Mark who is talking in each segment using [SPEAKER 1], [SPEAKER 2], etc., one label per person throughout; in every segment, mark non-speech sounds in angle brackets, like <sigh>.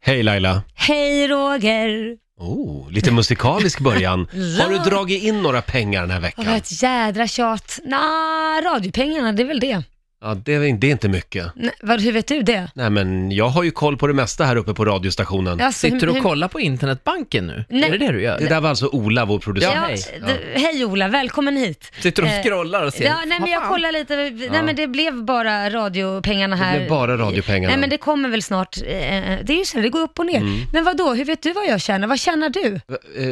[SPEAKER 1] Hej Laila!
[SPEAKER 2] Hej Roger!
[SPEAKER 1] Oh, lite musikalisk
[SPEAKER 2] <laughs>
[SPEAKER 1] början. Har du dragit in några pengar den här
[SPEAKER 2] Åh, vad
[SPEAKER 1] veckan?
[SPEAKER 2] ett jädra tjat. Nja, radiopengarna, det är väl det.
[SPEAKER 1] Ja, det, är- det är inte mycket.
[SPEAKER 2] Nej, vad, hur vet du det?
[SPEAKER 1] Nej, men jag har ju koll på det mesta här uppe på radiostationen.
[SPEAKER 2] Alltså,
[SPEAKER 3] Sitter
[SPEAKER 2] hur-
[SPEAKER 3] du och
[SPEAKER 2] hur-
[SPEAKER 3] kollar på internetbanken nu?
[SPEAKER 2] Nej.
[SPEAKER 3] Är det det du gör?
[SPEAKER 1] Det där var alltså Ola, vår producent.
[SPEAKER 2] Ja,
[SPEAKER 3] hej.
[SPEAKER 2] hej. hej Ola, välkommen hit.
[SPEAKER 3] Sitter du
[SPEAKER 2] Eh,
[SPEAKER 3] och scrollar och ser?
[SPEAKER 2] Ja, nej, men
[SPEAKER 3] Vad
[SPEAKER 2] jag
[SPEAKER 3] fan?
[SPEAKER 2] kollar lite. Nej, men det blev bara radiopengarna här.
[SPEAKER 1] Det blev bara radiopengarna.
[SPEAKER 2] Nej, men det kommer väl snart. Eh, Det är ju så, det går upp och ner. Men vad då? hur vet du vad jag tjänar? Vad tjänar du?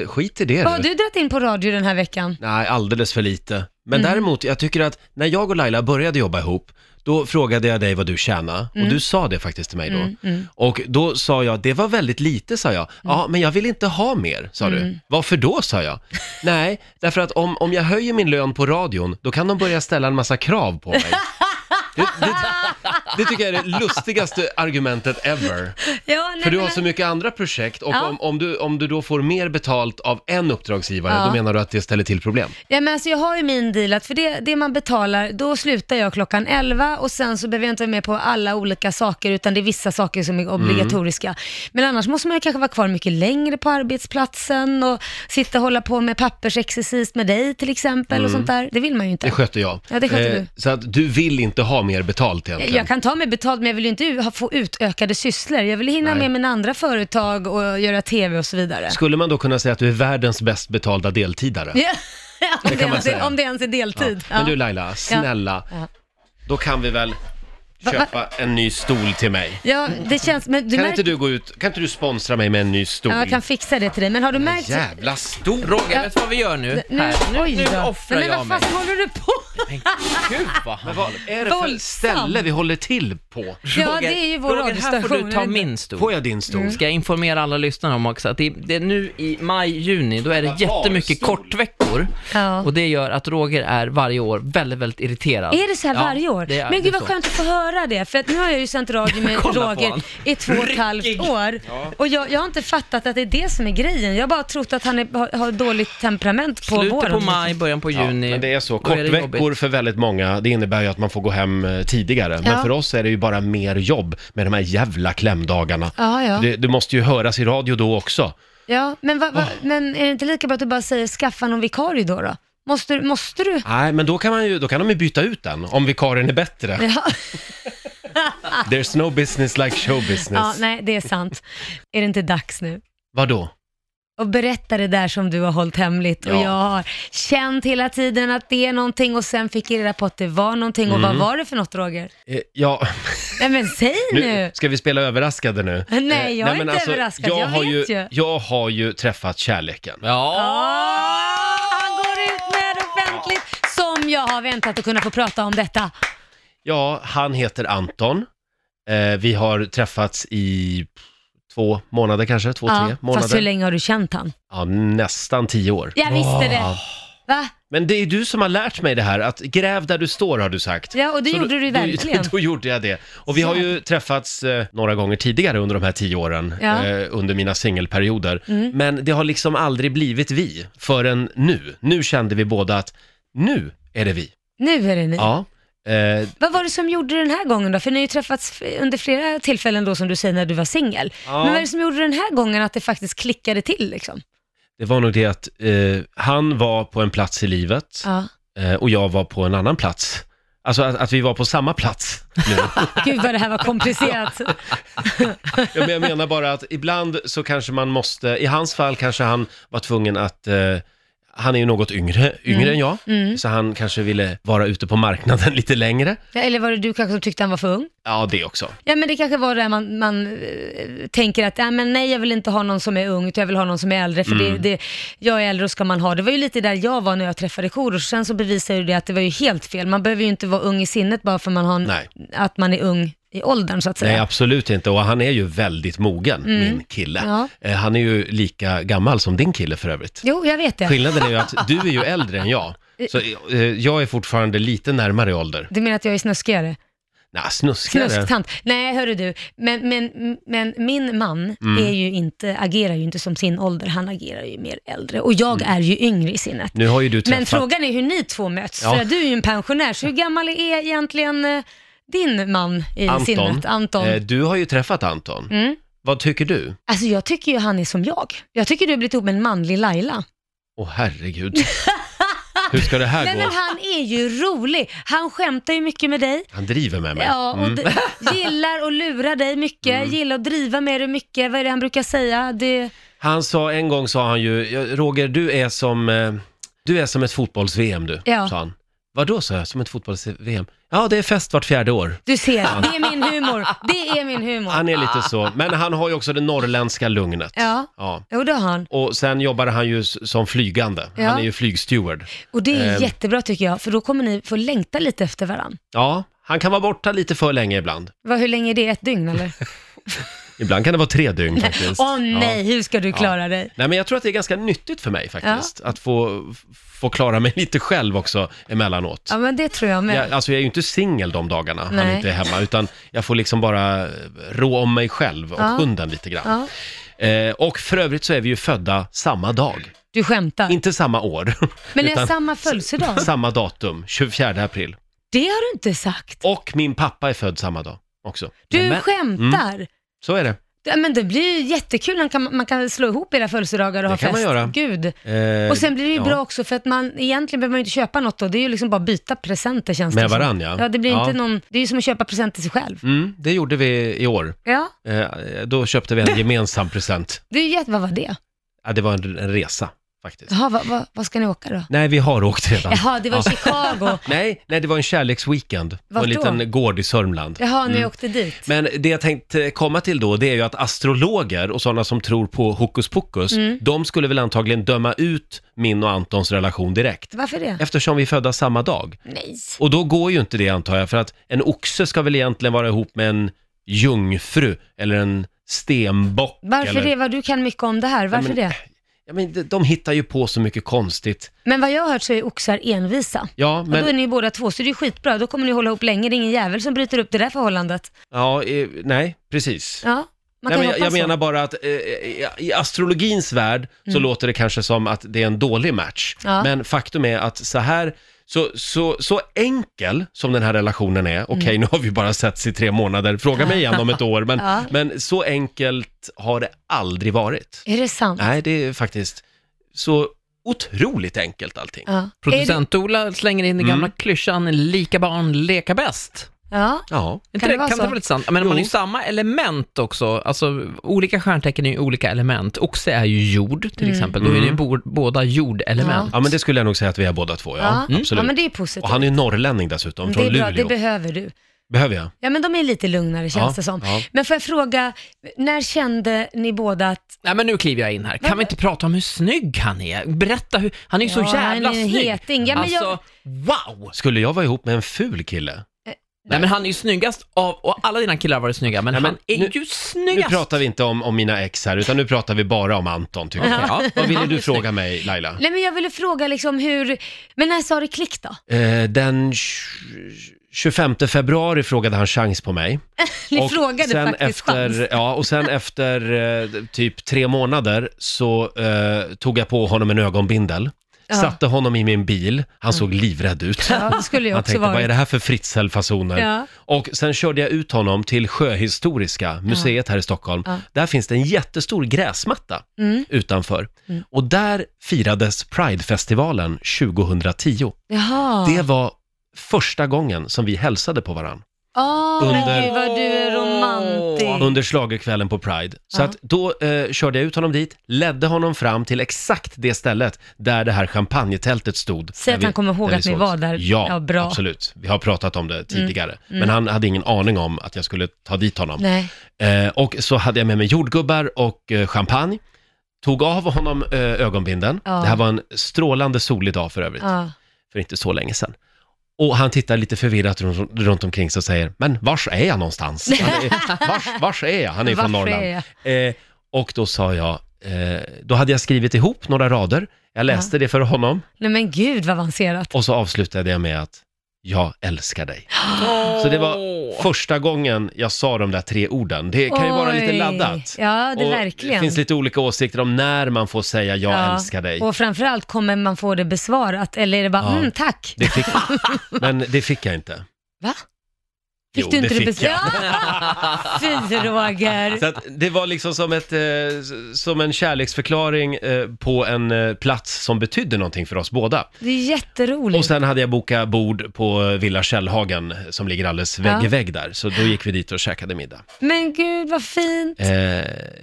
[SPEAKER 1] Eh, Skit i det
[SPEAKER 2] Vad har du dragit in på radio den här veckan?
[SPEAKER 1] Nej, alldeles för lite. Men
[SPEAKER 2] Mm.
[SPEAKER 1] däremot, jag tycker att när jag och Laila började jobba ihop, då frågade jag dig vad du tjänade
[SPEAKER 2] Mm.
[SPEAKER 1] och du sa det faktiskt till mig då. Och då sa jag, det var väldigt lite sa jag.
[SPEAKER 2] Mm.
[SPEAKER 1] Ja, men jag vill inte ha mer, sa du. Varför då, sa
[SPEAKER 2] <laughs>
[SPEAKER 1] jag. Nej, därför att om, om jag höjer min lön på radion, då kan de börja ställa en massa krav på mig. Det, det, det tycker jag är det lustigaste argumentet ever.
[SPEAKER 2] Ja, nej,
[SPEAKER 1] För du
[SPEAKER 2] men-
[SPEAKER 1] har så mycket andra projekt och
[SPEAKER 2] Ja.
[SPEAKER 1] om, om, du, om du då får mer betalt av en uppdragsgivare,
[SPEAKER 2] Ja.
[SPEAKER 1] då menar du att det ställer till problem.
[SPEAKER 2] Ja, men alltså jag har ju min deal att för det, det man betalar, då slutar jag klockan 11 och sen så behöver jag inte vara med på alla olika saker utan det är vissa saker som är obligatoriska.
[SPEAKER 1] Mm.
[SPEAKER 2] Men annars måste man ju kanske vara kvar mycket längre på arbetsplatsen och sitta och hålla på med pappersexercis med dig till exempel och sånt där. Det vill man ju inte.
[SPEAKER 1] Mm. Det sköter jag. Eh,
[SPEAKER 2] Ja, det sköter du.
[SPEAKER 1] Så att du vill inte ha mer betalt egentligen?
[SPEAKER 2] Jag kan ta mig betalt men jag vill ju inte ha- få utökade sysslor. Jag vill hinna
[SPEAKER 1] Nej.
[SPEAKER 2] med mina andra företag och göra tv och så vidare.
[SPEAKER 1] Skulle man då kunna säga att du är världens bäst betalda deltidare?
[SPEAKER 2] Ja, <laughs> om, det
[SPEAKER 1] kan man
[SPEAKER 2] ens är,
[SPEAKER 1] säga.
[SPEAKER 2] om det ens är deltid.
[SPEAKER 1] Men du
[SPEAKER 2] Ja.
[SPEAKER 1] Laila, snälla,
[SPEAKER 2] Ja.
[SPEAKER 1] då kan vi väl köpa en ny stol till mig?
[SPEAKER 2] Ja, det känns, men du
[SPEAKER 1] Kan
[SPEAKER 2] märker
[SPEAKER 1] inte du gå ut, kan inte du sponsra mig med en ny stol?
[SPEAKER 2] Ja, jag kan fixa det till dig. Men har du märkt...
[SPEAKER 1] Jävla stol!
[SPEAKER 3] Roger, vet du vad vi gör nu?
[SPEAKER 2] Nu,
[SPEAKER 3] Här.
[SPEAKER 2] oj
[SPEAKER 3] nu
[SPEAKER 2] då.
[SPEAKER 3] offrar
[SPEAKER 2] Nej,
[SPEAKER 3] jag
[SPEAKER 2] men
[SPEAKER 3] mig.
[SPEAKER 2] vad fan håller du på?
[SPEAKER 3] Men gud vad han...
[SPEAKER 1] Vad är det för
[SPEAKER 2] Våldsam.
[SPEAKER 1] ställe vi håller till på?
[SPEAKER 2] Ja, det är ju vår
[SPEAKER 3] Roger, här får
[SPEAKER 2] radiostation,
[SPEAKER 3] du ta
[SPEAKER 2] eller?
[SPEAKER 3] min stol.
[SPEAKER 1] Får jag din stol?
[SPEAKER 2] Mm.
[SPEAKER 3] Ska jag informera alla lyssnare om också att det, det är nu i maj, juni, då är det
[SPEAKER 1] Jävla
[SPEAKER 3] jättemycket
[SPEAKER 1] barstol.
[SPEAKER 3] kortveckor.
[SPEAKER 2] Ja.
[SPEAKER 3] Och det gör att Roger är varje år väldigt, väldigt irriterad.
[SPEAKER 2] Är det så här
[SPEAKER 3] Ja,
[SPEAKER 2] varje år?
[SPEAKER 3] det är-
[SPEAKER 2] men
[SPEAKER 3] det är
[SPEAKER 2] gud vad
[SPEAKER 3] så.
[SPEAKER 2] skönt att få höra det, för att nu har jag ju sänt radio med
[SPEAKER 3] <laughs> Kolla på han.
[SPEAKER 2] Roger i två och ett halvt år. Och jag, jag har inte fattat att det är det som är grejen. Jag har bara trott att han är, har, har dåligt temperament på
[SPEAKER 3] Slutet
[SPEAKER 2] våren. liksom.
[SPEAKER 3] på maj, början på
[SPEAKER 1] Ja,
[SPEAKER 3] juni.
[SPEAKER 1] men det är så.
[SPEAKER 3] då det jobbigt.
[SPEAKER 1] Kortveckor för väldigt många, det innebär ju att man får gå hem eh, tidigare. Men
[SPEAKER 2] Ja.
[SPEAKER 1] för oss är det ju bara mer jobb med de här jävla klämdagarna.
[SPEAKER 2] Ja, ja.
[SPEAKER 1] Det, det måste ju höras i radio då också.
[SPEAKER 2] Ja, men, vad-
[SPEAKER 3] Ah.
[SPEAKER 2] vad- men är det inte lika bra att du bara säger skaffa någon vikarie då? då? Måste, du- måste du?
[SPEAKER 1] Nej, men då kan, man ju, då kan de ju byta ut den om vikarien är bättre.
[SPEAKER 2] Ja.
[SPEAKER 1] There's no business like show business.
[SPEAKER 2] <laughs> ja, nej det är sant. Är det inte dags nu?
[SPEAKER 1] Vadå?
[SPEAKER 2] och berätta det där som du har hållit hemligt och
[SPEAKER 1] Ja.
[SPEAKER 2] jag har känt hela tiden att det är någonting och sen fick jag reda på att det var någonting och
[SPEAKER 1] Mm.
[SPEAKER 2] vad var det för något Roger?
[SPEAKER 1] Eh,
[SPEAKER 2] <laughs>
[SPEAKER 1] Ja,
[SPEAKER 2] Nej men säg
[SPEAKER 1] nu,
[SPEAKER 2] nu!
[SPEAKER 1] ska vi spela överraskade nu?
[SPEAKER 2] Nej, jag
[SPEAKER 1] Eh,
[SPEAKER 2] är
[SPEAKER 1] men
[SPEAKER 2] inte överraskad. Jag
[SPEAKER 1] har
[SPEAKER 2] vet ju.
[SPEAKER 1] Jag har ju träffat kärleken.
[SPEAKER 2] Åh,
[SPEAKER 3] Ja,
[SPEAKER 2] han går ut med det offentligt som jag har väntat att kunna få prata om detta.
[SPEAKER 1] Ja, han heter Anton. Eh, vi har träffats i två månader kanske, två, tre
[SPEAKER 2] fast hur
[SPEAKER 1] månader.
[SPEAKER 2] länge har du känt han?
[SPEAKER 1] Ja, nästan tio år.
[SPEAKER 2] Jag visste det! Va?
[SPEAKER 1] Men det är du som har lärt mig det här, att gräv där du står har du sagt.
[SPEAKER 2] Ja, och det
[SPEAKER 1] Så
[SPEAKER 2] gjorde du
[SPEAKER 1] <laughs>
[SPEAKER 2] ju verkligen.
[SPEAKER 1] Då, då gjorde jag det. Och vi har ju träffats eh, några gånger tidigare under de här tio åren,
[SPEAKER 2] Ja. Mm.
[SPEAKER 1] eh, under mina singelperioder. Men det har liksom aldrig blivit vi förrän nu. Nu kände vi båda att nu är det vi.
[SPEAKER 2] Nu är det ni.
[SPEAKER 1] Ja. Eh,
[SPEAKER 2] Vad var det som gjorde den här gången då? För ni har ju träffats f- under flera tillfällen då som du säger när du var singel.
[SPEAKER 1] Ja.
[SPEAKER 2] Men vad är det som gjorde den här gången att det faktiskt klickade till liksom?
[SPEAKER 1] det var nog det att eh, han var på en plats i livet
[SPEAKER 2] Ja.
[SPEAKER 1] eh, och jag var på en annan plats. Alltså att, att vi var på samma plats nu.
[SPEAKER 2] Gud vad det här var komplicerat.
[SPEAKER 1] Ja, men jag menar bara att ibland så kanske man måste, i hans fall kanske han var tvungen att, eh, han är ju något yngre, yngre
[SPEAKER 2] Mm.
[SPEAKER 1] än jag, så han kanske ville vara ute på marknaden <laughs> lite längre.
[SPEAKER 2] Ja, Eller var det du kanske som tyckte han var för ung?
[SPEAKER 1] Ja, det också.
[SPEAKER 2] Ja men det kanske var där man, man eh, tänker att, nej men nej jag vill inte ha någon som är ung utan jag vill ha någon som är äldre för
[SPEAKER 1] Mm.
[SPEAKER 2] det, det, jag är äldre och ska man ha. Det var ju lite där jag var när jag träffade Korosh, sen så bevisade ju det att det var ju helt fel. Man behöver ju inte vara ung i sinnet bara för man har en,
[SPEAKER 1] Nej.
[SPEAKER 2] att man är ung i åldern så att säga.
[SPEAKER 1] Nej, absolut inte. Och han är ju väldigt mogen, min kille.
[SPEAKER 2] Ja.
[SPEAKER 1] Eh, Han är ju lika gammal som din kille för övrigt.
[SPEAKER 2] Jo, jag vet det.
[SPEAKER 1] Skillnaden är ju att du är ju äldre än jag. Så eh, jag är fortfarande lite närmare i ålder.
[SPEAKER 2] Du menar att jag är snuskigare?
[SPEAKER 1] Nej, snuskigare.
[SPEAKER 2] Snusktant. Nej, hörru du. Men, men, men min man
[SPEAKER 1] Mm.
[SPEAKER 2] är ju inte, agerar ju inte som sin ålder, han agerar ju mer äldre. Och jag är ju yngre i sinnet.
[SPEAKER 1] Nu har ju du Mm. träffat...
[SPEAKER 2] Men frågan är hur ni två möts,
[SPEAKER 1] Ja.
[SPEAKER 2] för att du är ju en pensionär. Så hur gammal är egentligen eh, din man i
[SPEAKER 1] Anton,
[SPEAKER 2] sinnet, Anton? Mm.
[SPEAKER 1] Eh, du har ju träffat Anton. Vad tycker du?
[SPEAKER 2] Alltså jag tycker ju han är som jag. Jag tycker du har blivit ihop med en manlig Laila.
[SPEAKER 1] Åh herregud. Hur ska det här
[SPEAKER 2] <laughs> Nej
[SPEAKER 1] gå?
[SPEAKER 2] men han är ju rolig. Han skämtar ju mycket med dig.
[SPEAKER 1] Han driver med mig.
[SPEAKER 2] Ja, och
[SPEAKER 1] Mm.
[SPEAKER 2] d- gillar att lura dig mycket, gillar att driva med dig mycket. Vad är det han brukar säga? Det,
[SPEAKER 1] Han sa, en gång sa han ju, "Ja, Roger du är som, eh, du är som ett fotbolls-VM du,
[SPEAKER 2] Ja.
[SPEAKER 1] sa han. Vadå sa jag, som ett fotbolls-VM? Ja, det är fest vart fjärde år.
[SPEAKER 2] du ser, det är min humor. Det är min humor.
[SPEAKER 1] Han är lite så, men han har ju också det norrländska lugnet.
[SPEAKER 2] Ja.
[SPEAKER 1] ja.
[SPEAKER 2] Jo, det har han.
[SPEAKER 1] Och sen jobbar han ju s- som flygande,
[SPEAKER 2] Ja.
[SPEAKER 1] han är ju flygsteward.
[SPEAKER 2] Och det är
[SPEAKER 1] Ehm.
[SPEAKER 2] jättebra tycker jag, för då kommer ni få längta lite efter varandra.
[SPEAKER 1] Ja, han kan vara borta lite för länge ibland.
[SPEAKER 2] Vad, hur länge är det? Ett
[SPEAKER 1] <laughs>
[SPEAKER 2] dygn eller?
[SPEAKER 1] Ibland kan det vara tre dygn faktiskt.
[SPEAKER 2] <laughs> Åh
[SPEAKER 1] Ja.
[SPEAKER 2] nej, hur ska du klara dig?
[SPEAKER 1] Nej men jag tror att det är ganska nyttigt för mig faktiskt, att få, få klara mig <laughs> lite själv också emellanåt.
[SPEAKER 2] Ja men det tror jag med.
[SPEAKER 1] Jag, alltså jag är ju inte singel de dagarna han
[SPEAKER 2] Nej.
[SPEAKER 1] inte är hemma, utan jag får liksom bara rå om mig själv och
[SPEAKER 2] Ja.
[SPEAKER 1] hunden lite grann.
[SPEAKER 2] Ja.
[SPEAKER 1] Eh, och för övrigt så är vi ju födda samma dag,
[SPEAKER 2] Du skämtar.
[SPEAKER 1] inte samma år.
[SPEAKER 2] men ni har
[SPEAKER 1] utan
[SPEAKER 2] samma
[SPEAKER 1] <laughs>
[SPEAKER 2] födelsedag?
[SPEAKER 1] samma datum, 24 april.
[SPEAKER 2] Det har du inte sagt.
[SPEAKER 1] Och min pappa är född samma dag också.
[SPEAKER 2] Du
[SPEAKER 3] Nämen.
[SPEAKER 2] skämtar.
[SPEAKER 1] Mm. Så är det.
[SPEAKER 2] Ja, Men det blir ju jättekul, man kan, man kan slå ihop era födelsedagar och
[SPEAKER 1] Det
[SPEAKER 2] ha
[SPEAKER 1] kan
[SPEAKER 2] fest.
[SPEAKER 1] man göra.
[SPEAKER 2] Gud.
[SPEAKER 1] Eh,
[SPEAKER 2] Och sen blir det ju
[SPEAKER 1] ja.
[SPEAKER 2] bra också för att man, egentligen behöver man ju inte köpa något då, det är ju liksom bara byta presenter känns
[SPEAKER 1] Med
[SPEAKER 2] det som.
[SPEAKER 1] varann, ja.
[SPEAKER 2] Ja, det blir
[SPEAKER 1] Ja.
[SPEAKER 2] inte någon, det är ju som att köpa presenter till sig själv.
[SPEAKER 1] Mm, det gjorde vi i år.
[SPEAKER 2] Ja,
[SPEAKER 1] Eh, då köpte vi
[SPEAKER 2] <laughs>
[SPEAKER 1] en gemensam present.
[SPEAKER 2] det är ju jätte, vad var det?
[SPEAKER 1] Ja, det var en, en resa faktiskt.
[SPEAKER 2] Jaha, vad, vad, vad ska ni åka då?
[SPEAKER 1] Nej, vi har åkt redan.
[SPEAKER 2] Jaha, det var
[SPEAKER 1] <laughs>
[SPEAKER 2] Chicago.
[SPEAKER 1] Nej, nej, det var en kärleksweekend på en
[SPEAKER 2] Vart då?
[SPEAKER 1] liten gård i Sörmland.
[SPEAKER 2] Jaha, nu åkte dit.
[SPEAKER 1] Mm. Men det jag tänkte komma till då, det är ju att astrologer och sådana som tror på hokus pokus,
[SPEAKER 2] Mm.
[SPEAKER 1] de skulle väl antagligen döma ut min och Antons relation direkt.
[SPEAKER 2] Varför det?
[SPEAKER 1] Eftersom vi är födda samma dag.
[SPEAKER 2] Nej.
[SPEAKER 1] Och då går ju inte det antar jag, för att en oxe ska väl egentligen vara ihop med en jungfru eller en stenbock.
[SPEAKER 2] Varför
[SPEAKER 1] eller...
[SPEAKER 2] det? Vad du kan mycket om det här. Varför
[SPEAKER 1] men-
[SPEAKER 2] det?
[SPEAKER 1] Ja, men de, de hittar ju på så mycket konstigt.
[SPEAKER 2] Men vad jag har hört så är oxar envisa.
[SPEAKER 1] Ja,
[SPEAKER 2] Och då är
[SPEAKER 1] men...
[SPEAKER 2] ni ju båda två, så det är skitbra. Då kommer ni hålla ihop länge. Det är ingen jävel som bryter upp det där förhållandet.
[SPEAKER 1] Ja, eh, nej, precis.
[SPEAKER 2] Ja, man
[SPEAKER 1] Nej,
[SPEAKER 2] kan
[SPEAKER 1] men jag,
[SPEAKER 2] hoppas
[SPEAKER 1] jag
[SPEAKER 2] så. Mm.
[SPEAKER 1] menar bara att eh, i- i astrologins värld så låter det kanske som att det är en dålig match.
[SPEAKER 2] Ja.
[SPEAKER 1] Men faktum är att så här, så, så, så enkel som den här relationen är, okej
[SPEAKER 2] Mm.
[SPEAKER 1] nu har vi bara setts i tre månader, fråga mig igen om
[SPEAKER 2] <laughs>
[SPEAKER 1] ett år, men,
[SPEAKER 2] Ja.
[SPEAKER 1] men så enkelt har det aldrig varit.
[SPEAKER 2] Är det sant?
[SPEAKER 1] Nej, det är faktiskt så otroligt enkelt allting.
[SPEAKER 2] Ja. Är det...
[SPEAKER 3] Producent-Ola slänger in den gamla
[SPEAKER 1] Mm.
[SPEAKER 3] klyschan “lika barn leka bäst”.
[SPEAKER 2] Ja.
[SPEAKER 1] Ja.
[SPEAKER 2] Kan det vara
[SPEAKER 3] kan
[SPEAKER 2] så?
[SPEAKER 3] det vara lite sant? Men man är
[SPEAKER 1] Jo.
[SPEAKER 3] ju samma element också, alltså olika stjärntecken är ju olika element. Oxe är ju jord till exempel, då är det ju
[SPEAKER 1] Mm.
[SPEAKER 3] bo- båda jordelement.
[SPEAKER 1] ja, men det skulle jag nog säga att vi är båda två, ja. Mm.
[SPEAKER 2] Ja.
[SPEAKER 1] Absolut.
[SPEAKER 2] ja, men det är positivt.
[SPEAKER 1] Och han är ju norrlänning dessutom,
[SPEAKER 2] det
[SPEAKER 1] från
[SPEAKER 2] är bra,
[SPEAKER 1] Luleå.
[SPEAKER 2] det behöver du.
[SPEAKER 1] Behöver jag?
[SPEAKER 2] Ja, men de är lite lugnare känns
[SPEAKER 1] Ja,
[SPEAKER 2] det som.
[SPEAKER 1] ja.
[SPEAKER 2] Men får jag fråga, när kände ni båda att...
[SPEAKER 3] Nej men nu kliver jag in här, kan vi inte prata om hur snygg han är? Berätta hur, han är ju så
[SPEAKER 2] Ja,
[SPEAKER 3] jävla
[SPEAKER 2] han är en
[SPEAKER 3] snygg!
[SPEAKER 2] heting. Ja, men jag-
[SPEAKER 3] alltså, wow!
[SPEAKER 1] Skulle jag vara ihop med en ful kille?
[SPEAKER 3] Nej men han är ju snyggast av, och alla dina killar har varit snygga, men,
[SPEAKER 1] Nej, men
[SPEAKER 3] han är
[SPEAKER 1] nu-
[SPEAKER 3] ju
[SPEAKER 1] Nu
[SPEAKER 3] snyggast!
[SPEAKER 1] pratar vi inte om, om mina ex här, utan nu pratar vi bara om Anton, tycker jag.
[SPEAKER 3] Ja.
[SPEAKER 1] Vad ville
[SPEAKER 3] Han är
[SPEAKER 1] du
[SPEAKER 3] snygg.
[SPEAKER 1] fråga mig, Laila?
[SPEAKER 2] Nej, men jag ville fråga liksom hur... Men när sa det klick då?
[SPEAKER 1] Eh, den 25 februari frågade han chans på mig.
[SPEAKER 2] Ni frågade faktiskt
[SPEAKER 1] efter,
[SPEAKER 2] chans.
[SPEAKER 1] Ja, och
[SPEAKER 2] <laughs>
[SPEAKER 1] sen efter eh, typ tre månader så eh, tog jag på honom en ögonbindel.
[SPEAKER 2] Ja. Mm.
[SPEAKER 1] Satte honom i min bil, han såg livrädd ut.
[SPEAKER 2] Ja, det skulle jag
[SPEAKER 1] Man
[SPEAKER 2] också
[SPEAKER 1] tänkte, vad är
[SPEAKER 2] vara.
[SPEAKER 1] det här för Fritzl-fasoner?
[SPEAKER 2] Ja.
[SPEAKER 1] Och sen körde jag ut honom till Sjöhistoriska museet här i Stockholm.
[SPEAKER 2] Ja.
[SPEAKER 1] Där finns det en jättestor gräsmatta
[SPEAKER 2] Mm.
[SPEAKER 1] utanför. Och där firades Pridefestivalen 2010.
[SPEAKER 2] Jaha.
[SPEAKER 1] Det var första gången som vi hälsade på varandra
[SPEAKER 2] Åh,
[SPEAKER 1] Under-
[SPEAKER 2] men gud vad du är romantisk.
[SPEAKER 1] under schlagerkvällen på Pride. Så
[SPEAKER 2] Ja.
[SPEAKER 1] att då eh, körde jag ut honom dit, ledde honom fram till exakt det stället där det här champagnetältet stod.
[SPEAKER 2] Säg
[SPEAKER 1] Där
[SPEAKER 2] att
[SPEAKER 1] vi-
[SPEAKER 2] han kommer ihåg
[SPEAKER 1] där vi
[SPEAKER 2] att ni
[SPEAKER 1] sågs.
[SPEAKER 2] var där.
[SPEAKER 1] Ja,
[SPEAKER 2] Ja, bra. Mm.
[SPEAKER 1] absolut. Vi har pratat om det tidigare. Men han hade ingen aning om att jag skulle ta dit honom.
[SPEAKER 2] Nej.
[SPEAKER 1] Eh, och så hade jag med mig jordgubbar och eh, champagne. Tog av honom eh, ögonbinden.
[SPEAKER 2] Ja.
[SPEAKER 1] Det här var en strålande solig dag för övrigt,
[SPEAKER 2] Ja.
[SPEAKER 1] för inte så länge sedan. Och han tittar lite förvirrat runt, runt omkring sig och säger, men vars är jag någonstans? Han
[SPEAKER 2] <laughs>
[SPEAKER 1] är, vars, vars är jag? Han är från
[SPEAKER 2] Varför
[SPEAKER 1] Norrland.
[SPEAKER 2] är jag?
[SPEAKER 1] Eh, och då sa jag, eh, då hade jag skrivit ihop några rader. Jag läste det för honom
[SPEAKER 2] Nej men gud vad avancerat.
[SPEAKER 1] och så avslutade jag med att, jag älskar dig. Så det var första gången jag sa de där tre orden. Det kan ju vara lite
[SPEAKER 2] Oj.
[SPEAKER 1] laddat.
[SPEAKER 2] Ja, det
[SPEAKER 1] Och
[SPEAKER 2] verkligen.
[SPEAKER 1] Det finns lite olika åsikter om när man får säga jag
[SPEAKER 2] Ja.
[SPEAKER 1] älskar dig.
[SPEAKER 2] Och framförallt, kommer man få det besvarat eller är det bara <laughs>
[SPEAKER 1] Ja.
[SPEAKER 2] mm, tack?
[SPEAKER 1] Det fick, men det fick jag inte.
[SPEAKER 2] Va? Fick
[SPEAKER 1] Jo,
[SPEAKER 2] du inte
[SPEAKER 1] det
[SPEAKER 2] det
[SPEAKER 1] fick jag.
[SPEAKER 2] Ja! <laughs> Fy Roger.
[SPEAKER 1] Så att det var liksom som, ett, eh, s- som en kärleksförklaring eh, på en eh, plats som betydde någonting för oss båda.
[SPEAKER 2] Det är jätteroligt.
[SPEAKER 1] Och sen hade jag bokat bord på eh, Villa Källhagen som ligger alldeles vägg
[SPEAKER 2] Ja.
[SPEAKER 1] i vägg där. Så då gick vi dit och käkade middag.
[SPEAKER 2] Men gud vad fint.
[SPEAKER 1] Eh,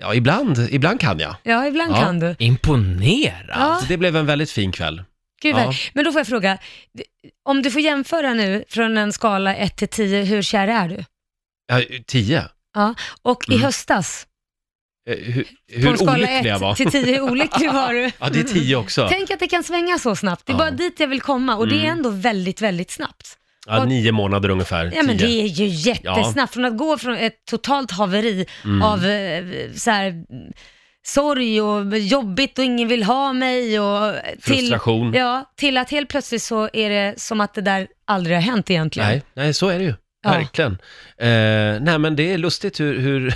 [SPEAKER 1] ja, ibland, ibland kan jag.
[SPEAKER 2] Ja, ibland
[SPEAKER 1] Ja.
[SPEAKER 2] kan du.
[SPEAKER 3] Imponerad!
[SPEAKER 2] Ja,
[SPEAKER 1] Det blev en väldigt fin kväll.
[SPEAKER 2] gud
[SPEAKER 1] Ja.
[SPEAKER 2] vad- Men då får jag fråga, d- om du får jämföra nu från en skala 1 till 10, hur kär är du?
[SPEAKER 1] Ja, tio. Eh,
[SPEAKER 2] Ja, och i
[SPEAKER 1] Mm.
[SPEAKER 2] höstas,
[SPEAKER 1] Eh, hur
[SPEAKER 2] på en
[SPEAKER 1] hur
[SPEAKER 2] skala
[SPEAKER 1] olycklig jag
[SPEAKER 2] 1
[SPEAKER 1] var.
[SPEAKER 2] till 10, hur
[SPEAKER 1] <laughs>
[SPEAKER 2] olycklig var du?
[SPEAKER 1] Ja, det är tio också.
[SPEAKER 2] Tänk att det kan svänga så snabbt. Det är
[SPEAKER 1] Ja.
[SPEAKER 2] bara dit jag vill komma och det är
[SPEAKER 1] Mm.
[SPEAKER 2] ändå väldigt, väldigt snabbt.
[SPEAKER 1] Ja, nio månader ungefär.
[SPEAKER 2] Ja men
[SPEAKER 1] Tio.
[SPEAKER 2] det är ju jättesnabbt. Från att gå från ett totalt haveri
[SPEAKER 1] Mm.
[SPEAKER 2] av eh, så här, mm, sorg och jobbigt och ingen vill ha mig och till,
[SPEAKER 1] Frustration.
[SPEAKER 2] ja, till att helt plötsligt så är det som att det där aldrig har hänt egentligen.
[SPEAKER 1] Nej, nej, så är det ju.
[SPEAKER 2] Ja.
[SPEAKER 1] Verkligen. Eh, nej, men det är lustigt hur, hur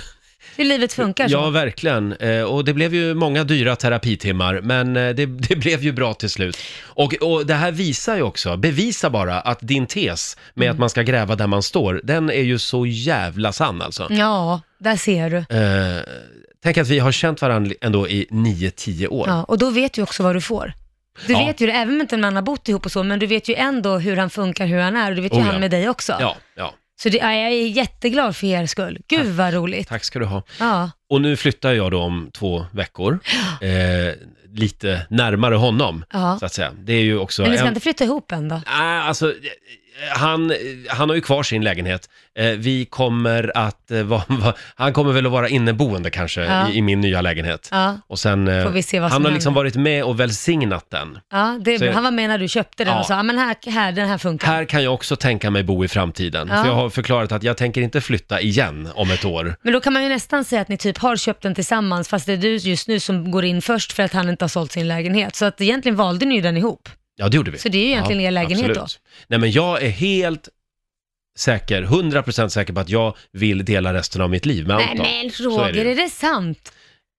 [SPEAKER 2] Hur livet funkar
[SPEAKER 1] Ja,
[SPEAKER 2] så.
[SPEAKER 1] verkligen. Eh, och det blev ju många dyra terapitimmar, men eh, det, <laughs> det blev ju bra till slut. Och, och det här visar ju också, bevisar bara att din tes med
[SPEAKER 2] Mm.
[SPEAKER 1] att man ska gräva där man står, den är ju så jävla sann alltså.
[SPEAKER 2] Ja, där ser du.
[SPEAKER 1] Eh, tänk att vi har känt varandra ändå i 9-10 år.
[SPEAKER 2] Ja, och då vet du också vad du får. Du
[SPEAKER 1] Ja.
[SPEAKER 2] vet ju det, även om inte man har bott ihop och så, men du vet ju ändå hur han funkar, hur han är och du vet ju
[SPEAKER 1] Oh,
[SPEAKER 2] han
[SPEAKER 1] ja.
[SPEAKER 2] med dig också.
[SPEAKER 1] ja, ja.
[SPEAKER 2] Så det, ja, jag är jätteglad för er skull. Gud vad roligt.
[SPEAKER 1] Tack ska du ha.
[SPEAKER 2] Ja.
[SPEAKER 1] Och nu flyttar jag då om två
[SPEAKER 2] <gasps>
[SPEAKER 1] veckor, eh, lite närmare honom,
[SPEAKER 2] Ja.
[SPEAKER 1] så att säga. Det är ju också
[SPEAKER 2] Men ni ska
[SPEAKER 1] en-
[SPEAKER 2] inte flytta ihop än då?
[SPEAKER 1] Nej, alltså, eh, han, eh, han har ju kvar sin lägenhet. Eh, Vi kommer att, eh, <laughs> va, va, han kommer väl att vara inneboende kanske
[SPEAKER 2] Ja.
[SPEAKER 1] i, i min nya lägenhet.
[SPEAKER 2] Ja,
[SPEAKER 1] Och sen, eh,
[SPEAKER 2] Får vi se vad som
[SPEAKER 1] han har liksom
[SPEAKER 2] händer.
[SPEAKER 1] varit med och välsignat den.
[SPEAKER 2] ja det är
[SPEAKER 1] Så-
[SPEAKER 2] bra. Han var med när du köpte den
[SPEAKER 1] Ja.
[SPEAKER 2] och sa, ja men här, här, den här funkar.
[SPEAKER 1] Här kan jag också tänka mig bo i framtiden.
[SPEAKER 2] Ja.
[SPEAKER 1] För jag har förklarat att jag tänker inte flytta igen om ett år.
[SPEAKER 2] Men då kan man ju nästan säga att ni typ har köpt den tillsammans, fast det är du just nu som går in först för att han inte har sålt sin lägenhet. Så att egentligen valde ni ju den ihop.
[SPEAKER 1] Ja, det gjorde vi.
[SPEAKER 2] Så det är ju egentligen er lägenhet
[SPEAKER 1] absolut. Nej, men jag är helt säker, 100% säker på att jag vill dela resten av mitt liv med
[SPEAKER 2] då.
[SPEAKER 1] Anton.
[SPEAKER 2] Nej men
[SPEAKER 1] Så är det
[SPEAKER 2] Roger,
[SPEAKER 1] ju.
[SPEAKER 2] är det sant?